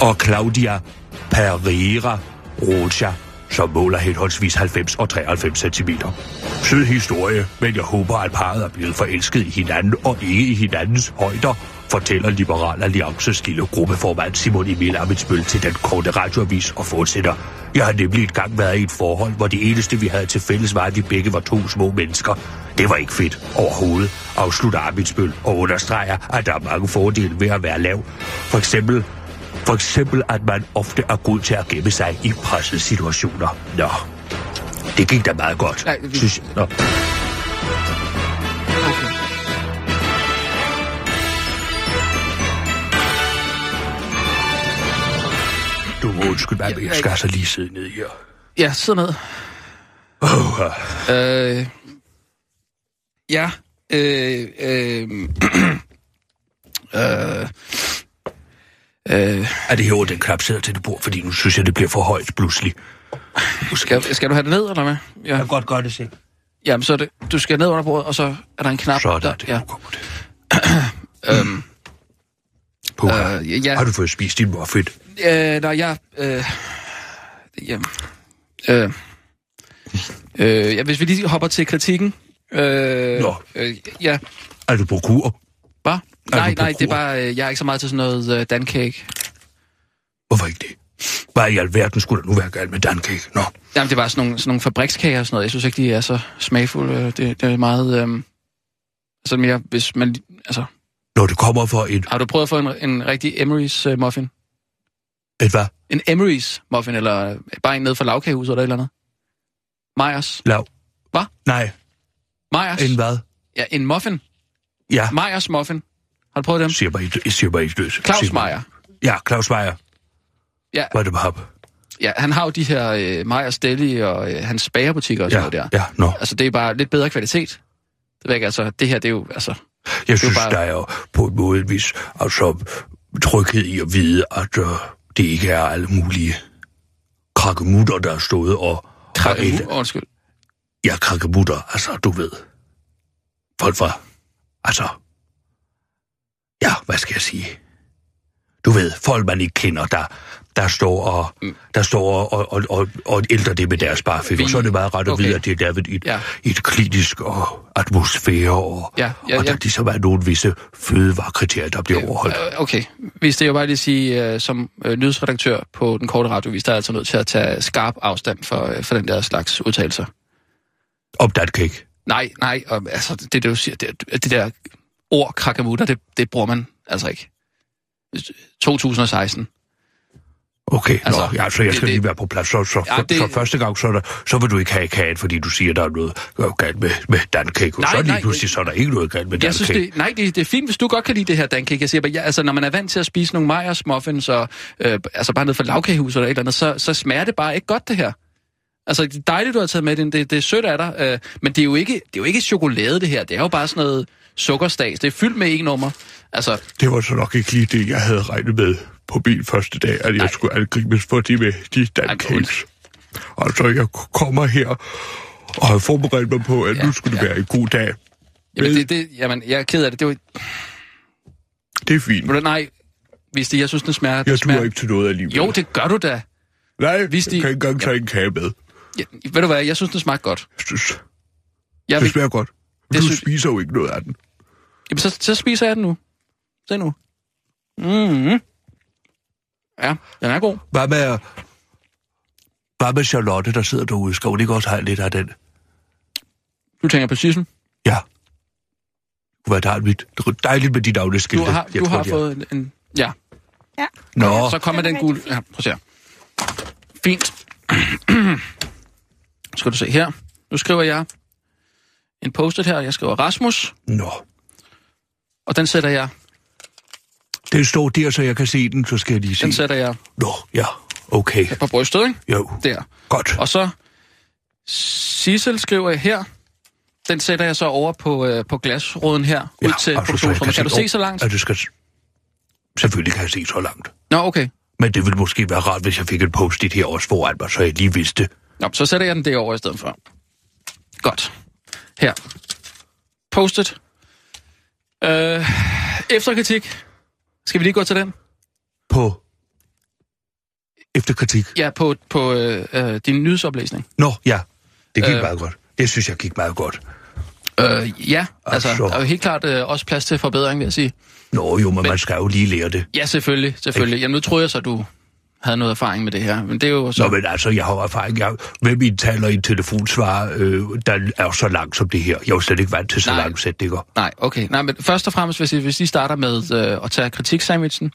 S2: og Claudia Pereira Rocha, som måler henholdsvis 90 og 93 cm. Sød historie, men jeg håber, at parret er blevet forelsket i hinanden og ikke i hinandens højder, fortæller Liberal Alliances lille gruppeformand Simon Emil Amitsbøl til den korte radioavis og fortsætter. Jeg har nemlig engang været i et forhold, hvor det eneste, vi havde til fælles, var, at vi begge var to små mennesker. Det var ikke fedt overhovedet, afslutter Amitsbøl og understreger, at der er mange fordele ved at være lav. For eksempel for eksempel, at man ofte er god til at gemme sig i pressede situationer. Nå, det gik da meget godt,
S4: Nej, vi-
S2: synes Nå. Du må undskylde mig, men jeg skal altså lige sidde ned her.
S4: ja, sid ned.
S2: Åh, ah.
S4: Øh, ja. Øh, øh, øh, øh,
S2: er det her over den knap sidder til det bord, fordi nu synes jeg, det bliver for højt pludselig.
S4: skal, skal du have det ned, eller hvad? Ja.
S2: kan godt gøre det selv.
S4: Jamen, så er det, du skal ned under bordet, og så er der en knap.
S2: Så er der
S4: der,
S2: det.
S4: Ja.
S2: Nu kommer det.
S4: Øhm,
S2: Puha.
S4: øh, ja, ja.
S2: Har du fået spist din muffin?
S4: Øh, nej, jeg... Øh, jamen, øh, øh, ja, hvis vi lige hopper til kritikken, Øh,
S2: Nå.
S4: Øh, ja,
S2: Er du på kur?
S4: bare.
S2: Er
S4: Nej,
S2: du på
S4: nej, det er
S2: kur?
S4: bare, øh, jeg er ikke så meget til sådan noget øh, dancake.
S2: Hvorfor ikke det? Hvad i alverden skulle der nu være galt med dancake? Nå,
S4: Jamen, det er bare sådan nogle, sådan nogle fabrikskager og sådan noget. Jeg synes ikke, de er så smagfulde. Øh, Det, det er meget... Øh, altså mere, hvis man... Altså,
S2: når det kommer for et...
S4: har du prøvet at få en, en rigtig Emery's øh, muffin?
S2: Et hvad?
S4: En Emery's muffin, eller øh, bare en ned fra lavkagehuset eller et eller andet? Meyers.
S2: Lav?
S4: Hva?
S2: Nej,
S4: Meyers.
S2: en hvad?
S4: Ja, en muffin.
S2: Ja,
S4: Meyers muffin. Har du prøvet dem?
S2: siger bare ikke, siger bare ikke løs.
S4: Claus
S2: Siger bare-
S4: Meyer.
S2: Ja, Claus Meier.
S4: Ja.
S2: Var det bare
S4: Ja, han har jo de her øh, Meyers Deli og øh, hans bagerbutikker og
S2: Ja,
S4: sådan noget der.
S2: ja, nå.
S4: Altså, det er bare lidt bedre kvalitet. Det ved jeg ikke, altså, det her, det er jo, altså...
S2: Jeg synes,
S4: bare-
S2: der er jo på en måde en vis altså, tryghed i at vide, at øh, det ikke er alle mulige krakkemutter, der er stået og... og et-
S4: Krakke, Uh, undskyld.
S2: Ja, krakkemutter, altså, du ved. Folk fra... Altså... Ja, hvad skal jeg sige? Du ved, folk man ikke kender, der, der står og, der står og, og, og, og, og ældrer det med deres barfik.
S4: Mm. Vi-
S2: Og så er det meget ret at
S4: okay.
S2: vide, at det er lavet i,
S4: Ja.
S2: ja. i et klinisk og atmosfære, og,
S4: Ja, ja,
S2: og der
S4: ja.
S2: ligesom er nogle visse fødevarekriterier, der bliver overholdt.
S4: Øh, Okay, hvis det er jo bare lige at sige, øh, som øh, nyhedsredaktør på den korte radiovis, der er jeg altså nødt til at tage skarp afstand for, øh, for den der slags udtalelser.
S2: Om datkæk.
S4: Nej, nej, og, altså, det, det, du siger, det, det der ord krakamutter, det, det bruger man altså ikke. Øh, 2016.
S2: Okay,
S4: Altså,
S2: altså, nå, ja, så jeg
S4: det-
S2: skal
S4: det-
S2: lige være på plads. Så, så,
S4: Ja,
S2: ja,
S4: det-
S2: det... så første gang, så, er der, så vil du ikke have kagen, fordi du siger, der er noget øh, galt med, med dankæk. Og
S4: Nej,
S2: så lige
S4: nej,
S2: pludselig, så er der ikke noget galt med
S4: Jeg synes,
S2: dankæk.
S4: det, nej, det, det er fint, hvis du godt kan lide det her dancake. Jeg siger bare, ja, altså, når man er vant til at spise nogle Meyers muffins, og, øh, altså bare ned fra lavkagehus eller et eller andet, så, så smager det bare ikke godt, det her. Altså, det er dejligt, du har taget med den. Det, det er sødt af dig. Øh, men det er, jo ikke, det er jo ikke chokolade, det her. Det er jo bare sådan noget sukkerstas. Det er fyldt med en nummer. Altså,
S2: Det var så nok ikke lige det, jeg havde regnet med på min første dag, at jeg
S4: Nej.
S2: Nej. skulle angribes for de med de dancakes. Og så jeg kommer her og har forberedt mig på, at
S4: Ja,
S2: ja, nu skulle det
S4: ja.
S2: ja. være en god dag.
S4: jamen,
S2: Vel.
S4: det, det, jamen, jeg er ked af det. det var,
S2: Det er fint.
S4: ved du, nej, hvis det, jeg synes, den smager. Den
S2: Jeg
S4: smager.
S2: duer ikke til noget alligevel.
S4: Jo, det gør du da.
S2: Nej,
S4: hvis
S2: hvis
S4: de-
S2: de... jeg kan ikke engang tage en kage med.
S4: Ja, ved du hvad, jeg synes, den smager godt.
S2: Jeg synes,
S4: Jeg
S2: det
S4: vil,
S2: smager godt.
S4: Det
S2: Du
S4: synes-
S2: spiser jo ikke noget af den.
S4: Jamen, så, så spiser jeg den nu. Se nu. Mm-hmm. Ja, den er god.
S2: Hvad med, hvad med Charlotte, der sidder derude? Skal hun ikke også have lidt af den?
S4: Du tænker på sissen.
S2: Ja. Hvad der er mit, dejligt med de
S4: Du
S2: navneskilte.
S4: har,
S2: Jeg
S4: du
S2: tror,
S4: har
S2: de er-
S4: fået en- en... Ja,
S5: Ja.
S2: Nå,
S4: så kommer
S5: Den
S4: den
S5: er
S4: gule...
S5: rigtig
S4: Ja, prøv at se her. Fint. Skal du se her. Nu skriver jeg en post-it her. Jeg skriver Rasmus,
S2: nå.
S4: og den sætter jeg...
S2: Den står der, så jeg kan se den, så skal jeg lige se.
S4: Den sætter jeg
S2: Nå, ja, okay,
S4: på brystet, ikke?
S2: jo,
S4: Der.
S2: godt.
S4: Og så... Sissel skriver jeg her. Den sætter jeg så over på, øh, på glasruden her, ud
S2: Ja,
S4: til
S2: altså, så jeg
S4: produktionsrummet. Kan du se
S2: åh,
S4: så langt?
S2: Ja, det skal... Selvfølgelig kan jeg se så langt.
S4: Nå, okay.
S2: Men det ville måske være rart, hvis jeg fik et post-it her også foran mig, så jeg lige vidste.
S4: Nå, så sætter jeg den derovre i stedet for. Godt. Her. Postet. Øh, efterkritik. Skal vi lige gå til den?
S2: På efterkritik.
S4: Ja, på, på øh, øh, din nyhedsoplæsning.
S2: Nå, ja, det gik
S4: Øh.
S2: øh... meget godt. Det synes jeg gik meget godt.
S4: Øh, ja, altså,
S2: Altså.
S4: der er jo helt klart øh, også plads til forbedring, vil jeg sige.
S2: Nå jo, men, man skal jo lige lære det.
S4: Ja, selvfølgelig, selvfølgelig. Jamen, nu troede jeg så, du havde noget erfaring med det her, men det er jo så...
S2: Nå, men altså, jeg har jo erfaring. Jeg, hvem i en taler i en telefonsvar, øh, der er så langt som det her? Jeg er jo slet ikke vant til så
S4: Nej.
S2: lange sætninger.
S4: Nej, okay. Nej, men først og fremmest, hvis I, hvis I starter med øh, at tage kritiksandwichen.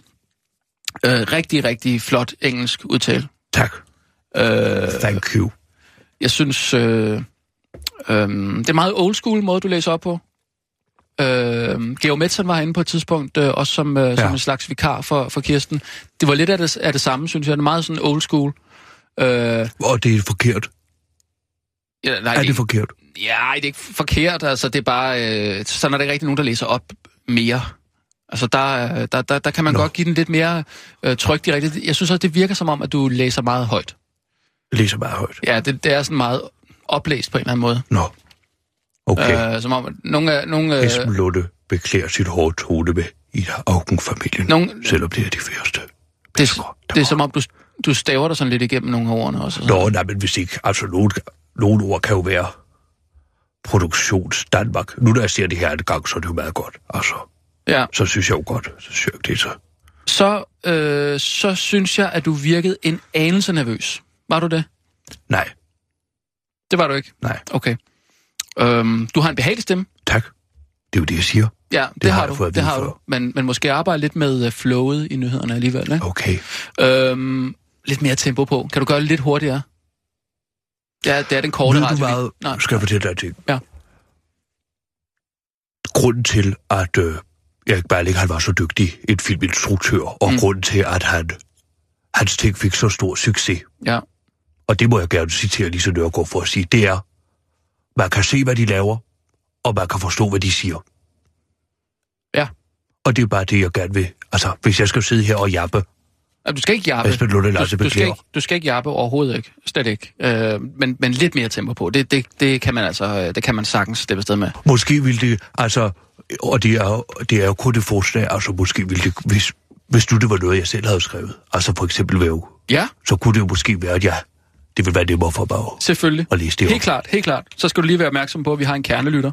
S4: Øh, rigtig, rigtig flot engelsk udtale.
S2: Tak.
S4: Øh,
S2: Thank you.
S4: Jeg synes, øh, øh, det er meget old school måde, du læser op på. Øh, Georg Metzen var herinde på et tidspunkt, øh, også som, øh, ja. som en slags vikar for, for Kirsten. Det var lidt af det, af det samme, synes jeg. Det er meget sådan old school. Øh, ja,
S2: Og det er forkert.
S4: nej,
S2: Er
S4: det,
S2: det
S4: for...
S2: forkert?
S4: ja, det er ikke forkert. Altså, det er bare, øh, sådan er der ikke rigtig nogen, der læser op mere. Altså, der, øh, der, der, der kan man Nå.
S2: Nå.
S4: godt give den lidt mere øh, tryk direkte. Jeg synes også, det virker som om, at du læser meget højt.
S2: Læser meget højt.
S4: Ja, det, det er sådan meget oplæst på en eller anden måde.
S2: Nå. Okay.
S4: Okay. Øh, som om, at nogle af... Nogle, øh,
S2: Esben Lunde beklager sit hårde tone med i Augen-familien,
S4: Nogen-
S2: selvom det er de første.
S4: Det,
S2: der
S4: det er
S2: var-
S4: som om, du, du staver dig sådan lidt igennem nogle af ordene også. og sådan.
S2: Nå, nej, men hvis ikke, altså nogen, nogen ord kan jo være produktions Danmark. Nu når jeg ser det her en gang, så er det jo meget godt. Altså,
S4: Ja.
S2: så synes jeg jo godt. Så synes jeg, det er så.
S4: Så, øh, så synes jeg, at du virkede en anelse nervøs. Var du det?
S2: Nej,
S4: Det var du ikke?
S2: Nej.
S4: Okay. Øhm, du har en behagelig stemme.
S2: tak. Det er jo det, jeg siger.
S4: Ja, det,
S2: har
S4: har
S2: jeg
S4: du.
S2: fået at
S4: det
S2: vide
S4: har
S2: før.
S4: du. Men, men måske arbejde lidt med øh, flowet i nyhederne alligevel, ikke?
S2: Okay.
S4: Øhm, lidt mere tempo på. Kan du gøre det lidt hurtigere? Ja, det er den korte
S2: Ved du
S4: radio. vi-
S2: hvad?
S4: Nej.
S2: Skal jeg fortælle dig en ting?
S4: Ja.
S2: Grunden til, at øh, Erik Berling, han var så dygtig en filminstruktør, og
S4: Mm.
S2: mm. grunden til, at han, hans ting fik så stor succes,
S4: Ja,
S2: og det må jeg gerne citere Lise Nørgaard for at sige, det er, man kan se, hvad de laver, og man kan forstå, hvad de siger.
S4: Ja.
S2: Og det er bare det, jeg gerne vil. Altså, hvis jeg skal sidde her og jappe,
S4: Jamen, du skal ikke jappe.
S2: Esben Lunde
S4: du,
S2: Larsen
S4: du, skal
S2: beklager.
S4: ikke, du skal ikke jappe overhovedet ikke. Slet ikke. Øh, men, men lidt mere tempo på. Det, det, det, kan man altså, øh, det kan man sagtens slippe afsted med.
S2: Måske ville det, altså, og det er, jo- det er jo kun et forslag, altså måske ville det, hvis, hvis nu det var noget, jeg selv havde skrevet, altså for eksempel væv,
S4: Ja,
S2: så kunne det jo måske være, at jeg, det ville være nemmere for mig at,
S4: selvfølgelig.
S2: at læse det
S4: Helt
S2: op.
S4: klart, helt klart. Så skal du lige være opmærksom på, at vi har en kernelytter.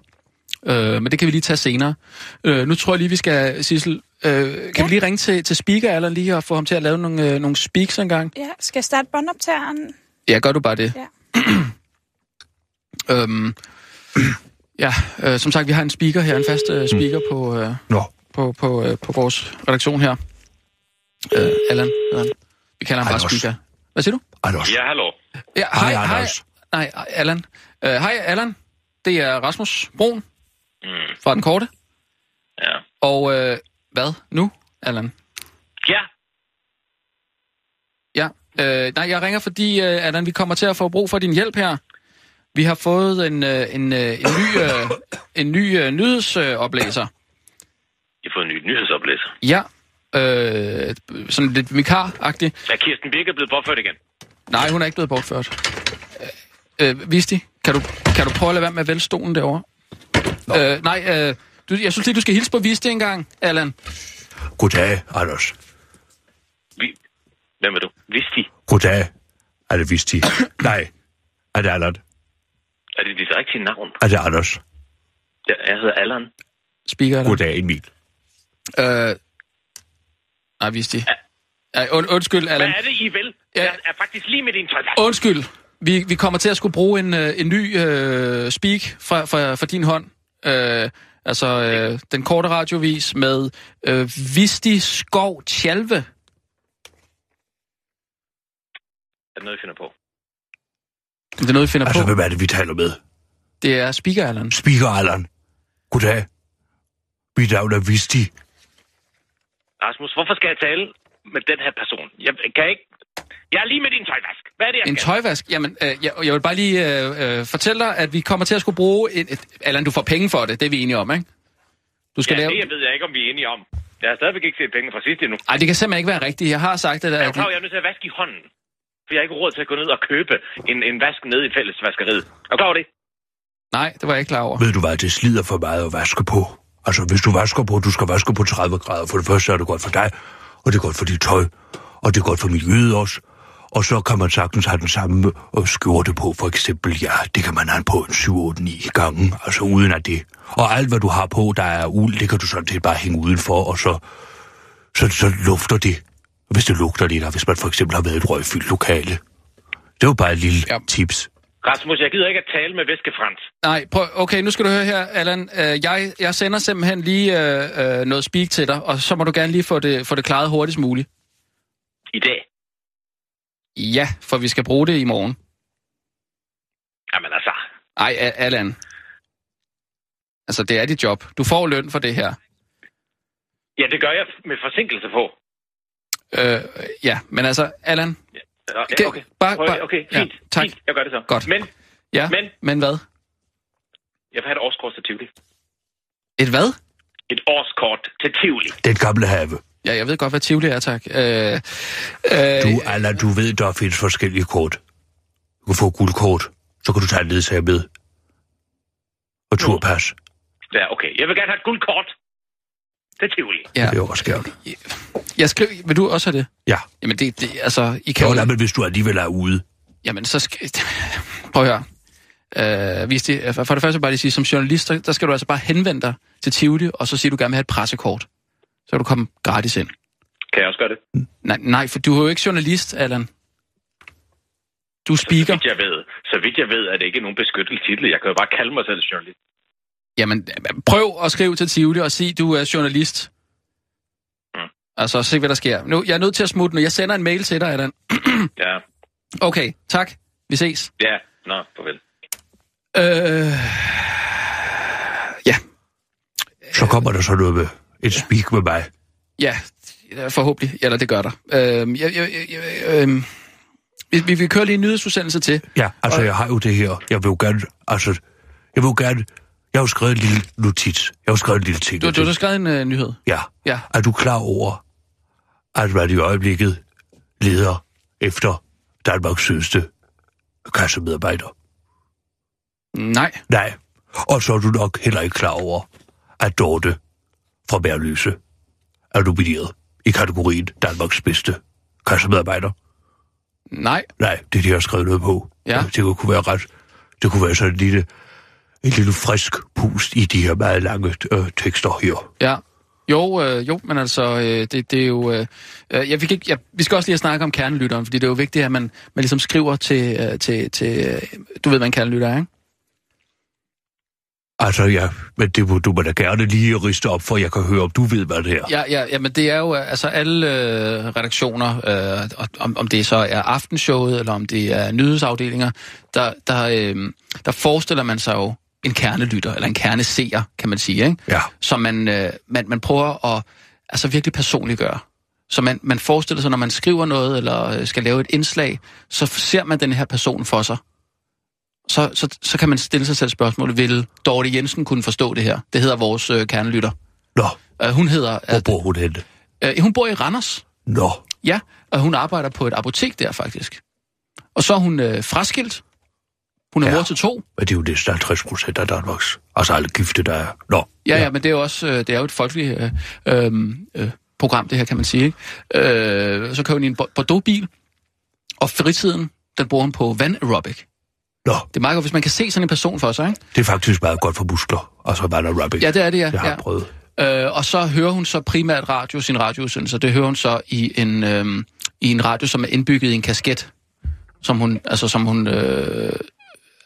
S4: Øh, men det kan vi lige tage senere. Øh, nu tror jeg lige, vi skal, Sissel, øh, kan ja.
S5: Ja.
S4: vi lige ringe til, til speaker eller lige og få ham til at lave nogle, øh, nogle speaks engang?
S5: Ja, skal jeg starte båndoptageren?
S4: Ja, gør du bare det.
S5: Ja.
S4: øhm, ja, øh, som sagt, vi har en speaker her, en fast øh, speaker på, øh,
S2: Mm. Nå,
S4: på, på, øh, på vores redaktion her. Øh, Allan, hedder han. vi kalder ham bare
S2: Anders.
S4: speaker. Hvad siger du?
S2: Anders.
S7: Ja, hallo.
S4: Ja,
S2: Hej, Anders.
S4: Nej, Allan. Øh, Hej, Allan. Det er Rasmus Broen
S7: Mm,
S4: fra Den Korte.
S7: ja.
S4: Og øh, hvad nu, Allan?
S7: ja,
S4: Ja, øh, nej, jeg ringer, fordi øh, Allan, vi kommer til at få brug for din hjælp her. Vi har fået en, øh, en, øh, en ny, øh, en ny øh, nyhedsoplæser.
S7: I har fået en ny nyhedsoplæser.
S4: Ja, øh, sådan lidt vikar-agtig.
S7: Er Kirsten Birke blevet bortført igen?
S4: Nej, hun er ikke blevet bortført. Øh, øh, Visti, kan du, kan du prøve at lade være med at vende stolen derovre? Øh, nej, øh, du, jeg synes lige, du skal hilse på Visti en gang, Allan.
S2: Goddag, Anders.
S7: Vi... Hvem er du? Vidste de?
S2: Goddag. Er det vist de? Nej. Er det Allan?
S7: Er det dit rigtige navn?
S2: Er det Anders?
S7: Jeg, jeg hedder Allan.
S4: Speaker, Allan.
S2: Goddag, Emil.
S4: Øh, nej, Visti. Ja, und, undskyld,
S7: Hvad
S4: Allan.
S7: er det, I vil?
S4: Ja.
S7: Jeg er faktisk lige midt i en toilet.
S4: Undskyld. Vi, vi kommer til at skulle bruge en, øh, en ny øh, speak fra, fra, fra din hånd. Øh, altså øh, den korte radiovis med øh, Visti Skov Tjalve.
S7: Er det noget, I finder på?
S4: Det er noget, vi finder
S2: Altså,
S4: på.
S2: hvem er det, vi taler med?
S4: Det er speaker, Allan.
S2: Speaker Allan. Goddag. Mit navn er Visti.
S7: Rasmus, hvorfor skal jeg tale med den her person? Jeg kan ikke... Jeg er lige midt i en tøjvask. Hvad er det, jeg
S4: En
S7: skal?
S4: tøjvask? Jamen, øh, jeg, jeg vil bare lige øh, øh, fortælle dig, at vi kommer til at skulle bruge... En, et, Allan, du får penge for det, det er vi enige om, ikke? Du skal
S7: Ja,
S4: lave...
S7: det jeg ved jeg ikke, om vi er enige om. Jeg har stadigvæk ikke set penge fra sidst endnu.
S4: Ej, det kan simpelthen ikke være rigtigt. Jeg har sagt, at...
S7: Jeg er jo
S4: at
S7: klar, over, jeg er nødt til at vaske i hånden. For jeg har ikke råd til at gå ned og købe en, en vask ned i fællesvaskeriet. Er du klar over det?
S4: nej, det var jeg ikke klar over.
S2: Ved du hvad, det slider for meget at vaske på. Altså, hvis du vasker på, du skal vaske på 30 grader. For det første er det godt for dig, og det er godt for dit tøj, og det er godt for miljøet også. Og så kan man sagtens have den samme øh, skjorte på, for eksempel, ja, det kan man have på en 7-8-9 gange, altså uden at det. Og alt, hvad du har på, der er uld, det kan du sådan set bare hænge udenfor, og så, så, så lufter det. Hvis det lugter lidt, og hvis man for eksempel har været i et røgfyldt lokale. Det var bare et lille
S4: Ja.
S2: ja. tips.
S7: Rasmus, jeg gider ikke at tale med væskefrans.
S4: Nej, prøv, okay, nu skal du høre her, Allan. Øh, jeg, jeg sender simpelthen lige øh, øh, noget speak til dig, og så må du gerne lige få det, få det klaret hurtigst muligt.
S7: I dag.
S4: Ja, for vi skal bruge det i morgen.
S7: Jamen altså,
S4: Ej, A- Allan. Altså, det er dit job. Du får løn for det her.
S7: ja, det gør jeg med forsinkelse på.
S4: Øh, ja, men altså, Allan.
S7: Ja,
S4: Det-
S7: ja, okay.
S4: bare-
S7: Prøv-
S4: bare-
S7: okay,
S4: ja,
S7: fint,
S4: tak.
S7: fint. Jeg gør det så.
S4: Godt.
S7: Men
S4: Ja,
S7: Men?
S4: men hvad?
S7: jeg vil have et årskort til Tivoli.
S4: Et hvad?
S7: Et årskort til Tivoli.
S2: Den gamle have.
S4: Ja, jeg ved godt, hvad Tivoli er, tak. Øh,
S2: Du,
S4: øh,
S2: Allan, du ved, der findes forskellige kort. Du kan få guldkort, så kan du tage en ledsager med. Og turpas,
S7: Ja, okay. Jeg vil gerne have et guldkort til Tivoli.
S4: ja,
S2: det er også skævt.
S4: jeg skriver, vil du også have det?
S2: Ja,
S4: Jamen, det, det altså, I kan
S2: jo,
S4: jo-
S2: nej, men hvis du alligevel er ude,
S4: Jamen, så skal... Prøv at høre. Øh, hvis det, for det første vil jeg bare lige sige, som journalist, der, der skal du altså bare henvende dig til Tivoli, og så sige, at du gerne vil have et pressekort. Så kan du komme gratis ind.
S7: Kan jeg også gøre det?
S4: Nej, nej, for du er jo ikke journalist, Allan. Du er
S7: Så
S4: speaker.
S7: vidt jeg ved, så vidt jeg ved, er det ikke nogen beskyttet titel. Jeg kan jo bare kalde mig selv journalist.
S4: Jamen, prøv at skrive til Tivoli og sig, du er journalist.
S7: Mm.
S4: Altså, se hvad der sker. Nu, jeg er nødt til at smutte nu. Jeg sender en mail til dig, Allan.
S7: Ja,
S4: Okay, tak. Vi ses.
S7: ja. Nå, farvel.
S4: Øh,
S2: Så kommer der så noget med et speak med mig.
S4: ja, forhåbentlig. Eller det gør der. Øh, jeg, jeg, jeg, jeg, øh, vi, vi, vi kører lige en nyhedsudsendelse til.
S2: Ja, altså jeg har jo det her. Jeg vil jo gerne, altså, jeg vil jo gerne, jeg har jo skrevet en lille notits. Jeg har jo skrevet en lille ting.
S4: Du, du, du har skrevet en øh, nyhed.
S2: Ja.
S4: Ja.
S2: Er du klar over, at man i øjeblikket leder efter Danmarks sødeste kassemedarbejder?
S4: Nej.
S2: Nej. Og så er du nok heller ikke klar over, at Dorte fra Bærløse er nomineret i kategorien Danmarks bedste kassemedarbejder.
S4: Nej.
S2: Nej, det er det, jeg har skrevet noget på.
S4: Ja.
S2: Det kunne være ret. Det kunne være sådan en lille, en lille frisk pust i de her meget lange øh, tekster her.
S4: Ja. Jo, øh, jo, men altså, øh, det, det er jo... Øh, øh, ja, vi, kan ikke, ja, vi skal også lige have snakke om kernelytteren, fordi det er jo vigtigt, at man, man ligesom skriver til... Øh, til, til øh, du ved, hvad en kernelytter er, ikke?
S2: Altså ja, men det må du må da gerne lige riste op, for jeg kan høre, om du ved, hvad det er.
S4: Ja, ja, ja men det er jo øh, altså alle øh, redaktioner, øh, og- om, om det så er aftenshowet, eller om det er nyhedsafdelinger, der, der, øh, der forestiller man sig jo en kernelytter, eller en kerneseer, kan man sige, ikke?
S2: Ja.
S4: som man, øh, man, man prøver at altså virkelig personliggøre. Så man, man forestiller sig, når man skriver noget, eller øh, skal lave et indslag, så ser man den her person for sig. Så, så, så kan man stille sig selv spørgsmålet, vil Dorte Jensen kunne forstå det her? Det hedder vores øh, kernelytter.
S2: Nå,
S4: Øh, hun hedder...
S2: hvor bor hun henne?
S4: Øh, hun bor i Randers,
S2: Nå,
S4: ja, og hun arbejder på et apotek der faktisk. Og så er hun øh, fraskilt. Hun er
S2: Ja.
S4: ja. mor til to.
S2: men det er jo næsten 50 procent af Danmarks. Altså alle gifte, der er. Nå,
S4: Ja, ja, men det er jo også øh, det er jo et folkeligt øh, øhm, øh, program, det her kan man sige. Ikke? Øh, så kører hun i en Bo- Bordeaux-bil, og fritiden, den bruger hun på vand aerobic.
S2: nå,
S4: Det er meget godt, hvis man kan se sådan en person for sig, ikke?
S2: det er faktisk meget godt for muskler. Altså bare der rapping.
S4: Ja, det er det, ja.
S2: Jeg har
S4: ja.
S2: prøvet.
S4: Øh, og så hører hun så primært radio, sin radioudsendelse. Det hører hun så i en, øh, i en radio, som er indbygget i en kasket, som hun, altså, som hun, øh,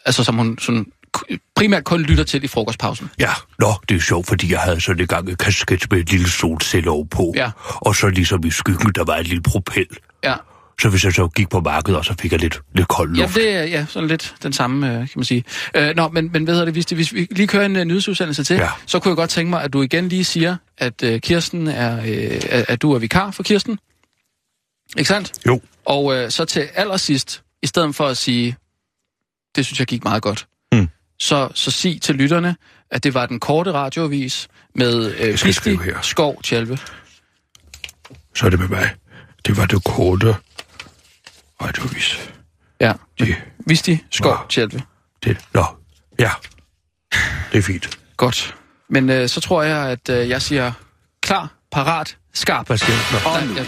S4: altså, som hun sådan, k- primært kun lytter til i frokostpausen.
S2: Ja, nå, det er sjovt, fordi jeg havde sådan en gang en kasket med en lille solcelle ovenpå.
S4: Ja.
S2: Og så ligesom i skyggen, der var en lille propel.
S4: Ja,
S2: Så hvis jeg så gik på markedet, og så fik jeg lidt, lidt kold
S4: ja
S2: luft.
S4: det er ja, sådan lidt den samme, øh, kan man sige. Øh, nå, men, men hvad hedder det, hvis, det, hvis vi lige kører en øh, nyhedsudsendelse til,
S2: Ja.
S4: ja. så kunne jeg godt tænke mig, at du igen lige siger, at øh, Kirsten er, øh, at- at du er vikar for Kirsten. Ikke sandt?
S2: Jo,
S4: Og øh, så til allersidst, i stedet for at sige, det synes jeg gik meget godt,
S2: Mm.
S4: så, så sig til lytterne, at det var den korte radioavis med øh,
S2: skal
S4: Kristi
S2: skrive her.
S4: Skov Tjelve.
S2: så er det med mig. Det var det korte radiovis.
S4: Ja,
S2: Det,
S4: Visti Skov
S2: Wow.
S4: Tjelve.
S2: det, nå, ja. Det er fint.
S4: Godt. Men øh, så tror jeg, at øh, jeg siger klar, parat, skarp.
S2: Hvad skal jeg? Nå.
S4: Og,
S6: nu.
S4: ja,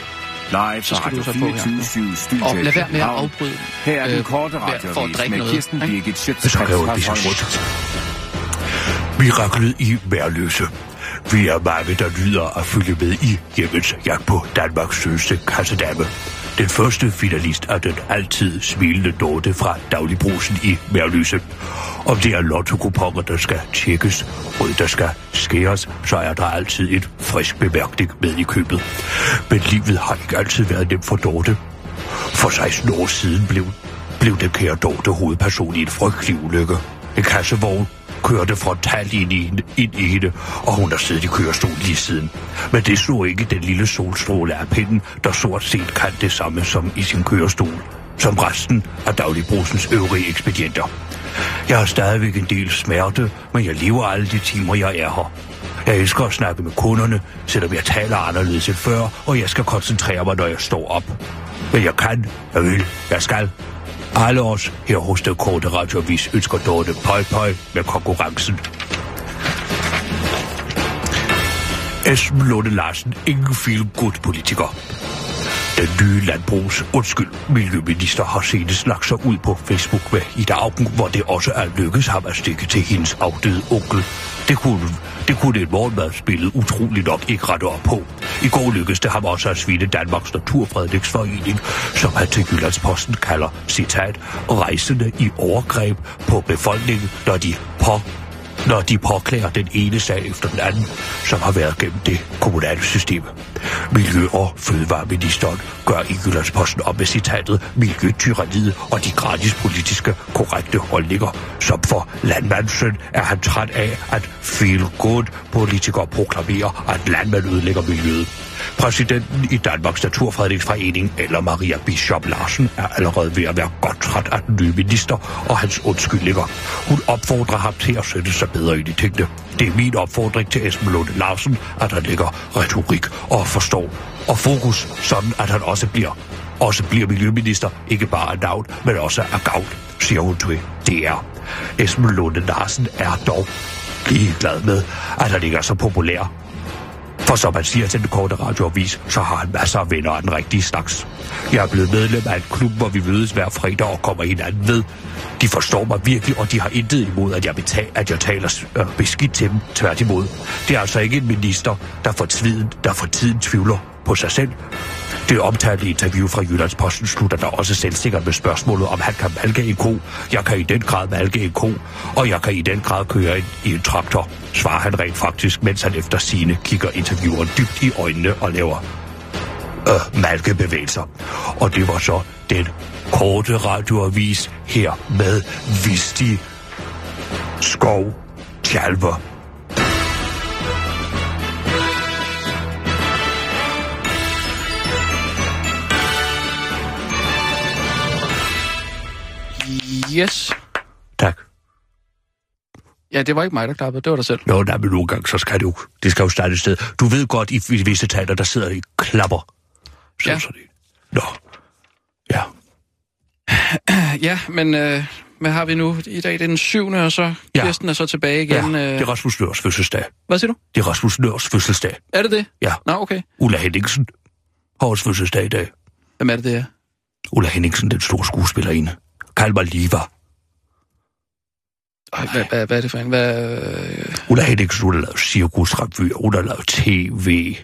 S6: Live
S4: Så
S6: fra
S4: skal
S6: Radio
S4: du så på her.
S6: 24 Studio
S4: og
S6: i
S4: lad være med at
S6: København.
S4: afbryde.
S6: Her er den
S4: øh,
S6: korte
S4: vær- for at
S6: radioavis
S4: drikke
S6: med
S4: noget,
S6: Kirsten
S4: ikke?
S6: Birgit
S2: Så kan jeg jo
S6: Schøtzgrads
S2: pisse rundt. Miraklet i Værløse. Vi er mange, der nyder at følge med i hjemmets jagt på Danmarks sødeste kassedamme. Den første finalist er den altid smilende Dorte fra Dagligbrusen i Værløse. Om det er lotto-kuponer, der skal tjekkes, rød, der skal skæres, så er der altid en frisk bemærkning med i købet. Men livet har ikke altid været nemt for Dorte. For 16 år siden blev, blev den kære Dorte hovedperson i en frygtelig ulykke. En kassevogn kørte frontalt ind i, hende- ind i hende, og hun har siddet i kørestol lige siden. Men det så ikke den lille solstråle af pinden, der sort set kan det samme som i sin kørestol. Som resten af dagligbrusens øvrige ekspedienter. Jeg har stadigvæk en del smerte, men jeg lever alle de timer, jeg er her. Jeg elsker at snakke med kunderne, selvom jeg taler anderledes end før, og jeg skal koncentrere mig, når jeg står op. Men jeg kan, jeg vil, jeg skal. Alle os her hos den korte radioavis ønsker Dorte pøj pøj med konkurrencen. Esben Lunde Larsen, ingen feel good politiker. Den Øh, nye landbrugs undskyld miljøminister har senest lagt sig ud på Facebook med Ida Augen, hvor det også er lykkedes ham at stikke til hendes afdøde onkel. Det kunne, det kunne et morgenmadsbillede utroligt nok ikke rette op på. I går lykkedes det ham også at svine Danmarks Naturfredningsforening, som han til Jyllandsposten kalder, citat, rejsende i overgreb på befolkningen, når de på når de påklager den ene sag efter den anden, som har været gennem det kommunale system. Miljø- og fødevareministeren gør i Jyllandsposten op med citatet Miljøtyranniet og de gratis politiske korrekte holdninger, som for landmandsøn er han træt af, at feel good politikere proklamerer, at landmand ødelægger miljøet. Præsidenten i Danmarks Naturfredningsforening, eller Maria Bishop Larsen, er allerede ved at være godt træt af den nye minister og hans undskyldninger. Hun opfordrer ham til at sætte sig bedre ind i tingene. Det er min opfordring til Esben Lunde Larsen, at han lægger retorik og forstår og fokus, sådan at han også bliver også bliver miljøminister, ikke bare af navn, men også af gavn, siger hun til DR. Esben Lunde Larsen er dog ligeglad med, at han ikke er så populær, for som han siger til den korte radioavis, så har han masser af venner af den rigtige slags. Jeg er blevet medlem af en klub, hvor vi mødes hver fredag og kommer hinanden ved. De forstår mig virkelig, og de har intet imod, at jeg, beta- at jeg taler øh, beskidt til dem. Tværtimod. Det er altså ikke en minister, der for tiden, der for tiden tvivler på sig selv. Det omtalte interview fra Jyllandsposten slutter der også selvsikkert med spørgsmålet, om han kan malke en ko. Jeg kan i den grad malke en ko, og jeg kan i den grad køre en, i en traktor, svarer han rent faktisk, mens han efter sine kigger intervieweren dybt i øjnene og laver øh, malkebevægelser. Og det var så den korte radioavis her med Visti Skov Tjalve.
S4: øh, Yes.
S2: Tak.
S4: Ja, det var ikke mig, der klappede. Det var dig selv.
S2: Nå, nej, men nogle gange, så skal det jo, det skal jo starte et sted. Du ved godt, i i visse teater, der sidder i klapper. Så,
S4: Ja.
S2: ja. det. Nå. Ja.
S4: Ja, men øh, hvad har vi nu? I dag det er den 7. og så ja.
S2: Ja.
S4: Kirsten er så tilbage igen.
S2: ja.
S4: Ja.
S2: Det
S4: Øh,
S2: er Rasmus Nørs fødselsdag.
S4: hvad siger du?
S2: Det er Rasmus Nørs fødselsdag.
S4: Er det det?
S2: Ja.
S4: Nå, okay.
S2: Ulla Henningsen har også fødselsdag i dag.
S4: Hvem er det, det er?
S2: Ulla Henningsen, den store skuespillerinde. Kald mig Liva.
S4: Ej, hvad, hvad, hvad er det for en? Hvad, øh,
S2: Ulla Henningsen, hun har lavet cirkusrevy, hun har lavet tv,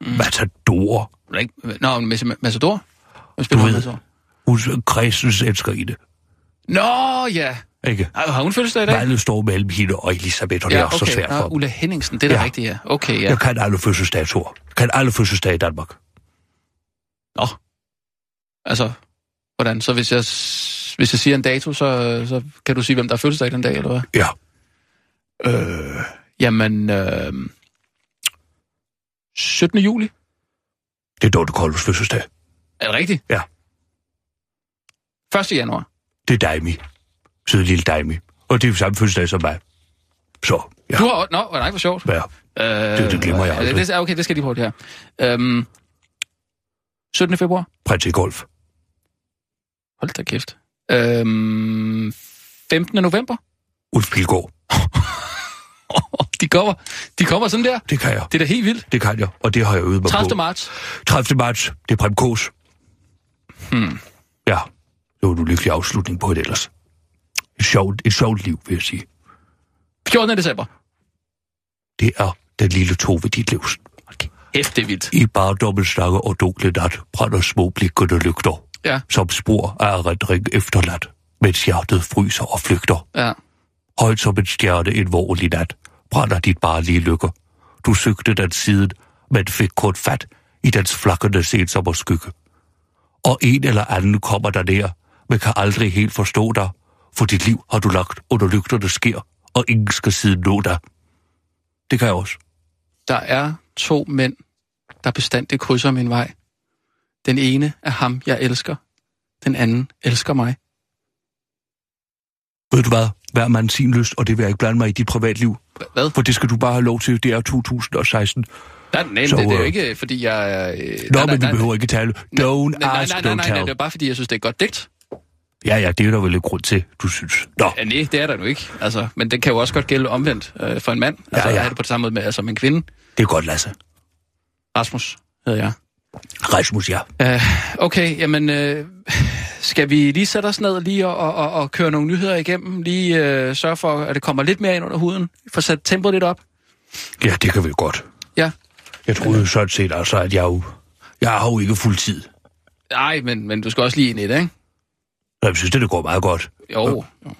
S2: mm. Matador.
S4: hun er ikke, nå, men Mas- Massador? Hun
S2: Du
S4: spiller
S2: ved.
S4: Massador.
S2: Hun er Kristens elskerinde,
S4: Nå, ja.
S2: ikke?
S4: Ej, har hun fødselsdag i dag?
S2: Valget står mellem hende og Elisabeth, og ja, det er også okay. så svært
S4: Nå,
S2: for dem.
S4: Ulla Henningsen, det er da
S2: Ja.
S4: rigtigt, ja. Okay, ja.
S2: Jeg kan alle fødselsdatoer. Kan alle fødselsdage i Danmark.
S4: Nå. Altså, hvordan? Så hvis jeg, s- hvis jeg siger en dato, så, så kan du sige, hvem der er fødselsdag den dag, eller hvad?
S2: Ja.
S4: Øh, jamen, øh, 17. juli.
S2: Det er Dorte Kolbes fødselsdag.
S4: Er det rigtigt?
S2: Ja.
S4: 1. januar.
S2: Det er Daimi. Søde lille Daimi. Og det er jo samme fødselsdag som mig. Så, ja.
S4: Ja. Du har... o- Nå, nej, hvor sjovt.
S2: Ja.
S4: Øh,
S2: det- det glemmer jeg
S4: ja, det,
S2: aldrig.
S4: det, Okay, det skal jeg lige prøve det her. Øhm, 17. februar.
S2: Prins i golf.
S4: Hold da kæft. Øhm, 15. november.
S2: Ulf Pilgaard.
S4: De kommer, de kommer sådan der.
S2: Det kan jeg.
S4: Det er da helt vildt.
S2: Det kan jeg, og det har jeg øvet mig
S4: 30.
S2: på.
S4: marts.
S2: 30. marts. Det er Prem Kås.
S4: Hmm.
S2: Ja. Det var en ulykkelig afslutning på et ellers. Et sjovt, et sjovt liv, vil jeg sige.
S4: 14. december.
S2: Det er den lille Tove Ditlevsen.
S4: F, det er vildt.
S2: I barndommen snakker og dunkle nat brænder små blikkende lygter.
S4: Ja.
S2: Som spor af erindring efterladt, mens hjertet fryser og flygter.
S4: Ja.
S2: Højt som en stjerne en vårlig nat, brænder dit barnlige lykke. Du søgte den siden, men fik kun fat i dens flakkende sensommerskygge. Og en eller anden kommer der nær, men kan aldrig helt forstå dig, for dit liv har du lagt under lygterne sker, og ingen skal siden nå dig. Det kan jeg også.
S4: Der er to mænd, der bestandigt krydser min vej. Den ene er ham, jeg elsker. Den anden elsker mig.
S2: Ved du hvad? Hver mand sin lyst, og det vil jeg ikke blande mig i dit privatliv.
S4: Hva- Hvad?
S2: For det skal du bare have lov til. Det er 2016.
S4: Der er den ene,
S2: Så,
S4: det, det er jo
S2: øh,
S4: ikke, fordi jeg... Øh,
S2: Nå, men vi behøver ikke tale. Don't
S4: nej, nej,
S2: ask,
S4: nej, nej,
S2: don't
S4: nej, nej,
S2: tell.
S4: det er bare, fordi jeg synes, det er et godt digt.
S2: Ja, ja, det er der vel lidt grund til, du synes. Nå,
S4: Ja, nej, det er der nu ikke. Altså, men det kan jo også godt gælde omvendt øh, for en mand. Altså,
S2: Ja,
S4: ja,
S2: ja.
S4: ja. er det på det samme måde med, altså, med en kvinde.
S2: det er godt, Lasse.
S4: Rasmus hedder jeg.
S2: Rasmus, ja.
S4: Øh, Okay, jamen, øh, skal vi lige sætte os ned lige og, og, og, og køre nogle nyheder igennem? Lige øh, sørge for, at det kommer lidt mere ind under huden? Få sat tempoet lidt op?
S2: Ja, det kan vi godt.
S4: Ja.
S2: Jeg troede sådan set altså, at jeg jo... Jeg har jo ikke fuld tid.
S4: Nej, men, men du skal også lige ind i det, ikke?
S2: Jeg synes, det, det går meget godt.
S4: Jo. jo.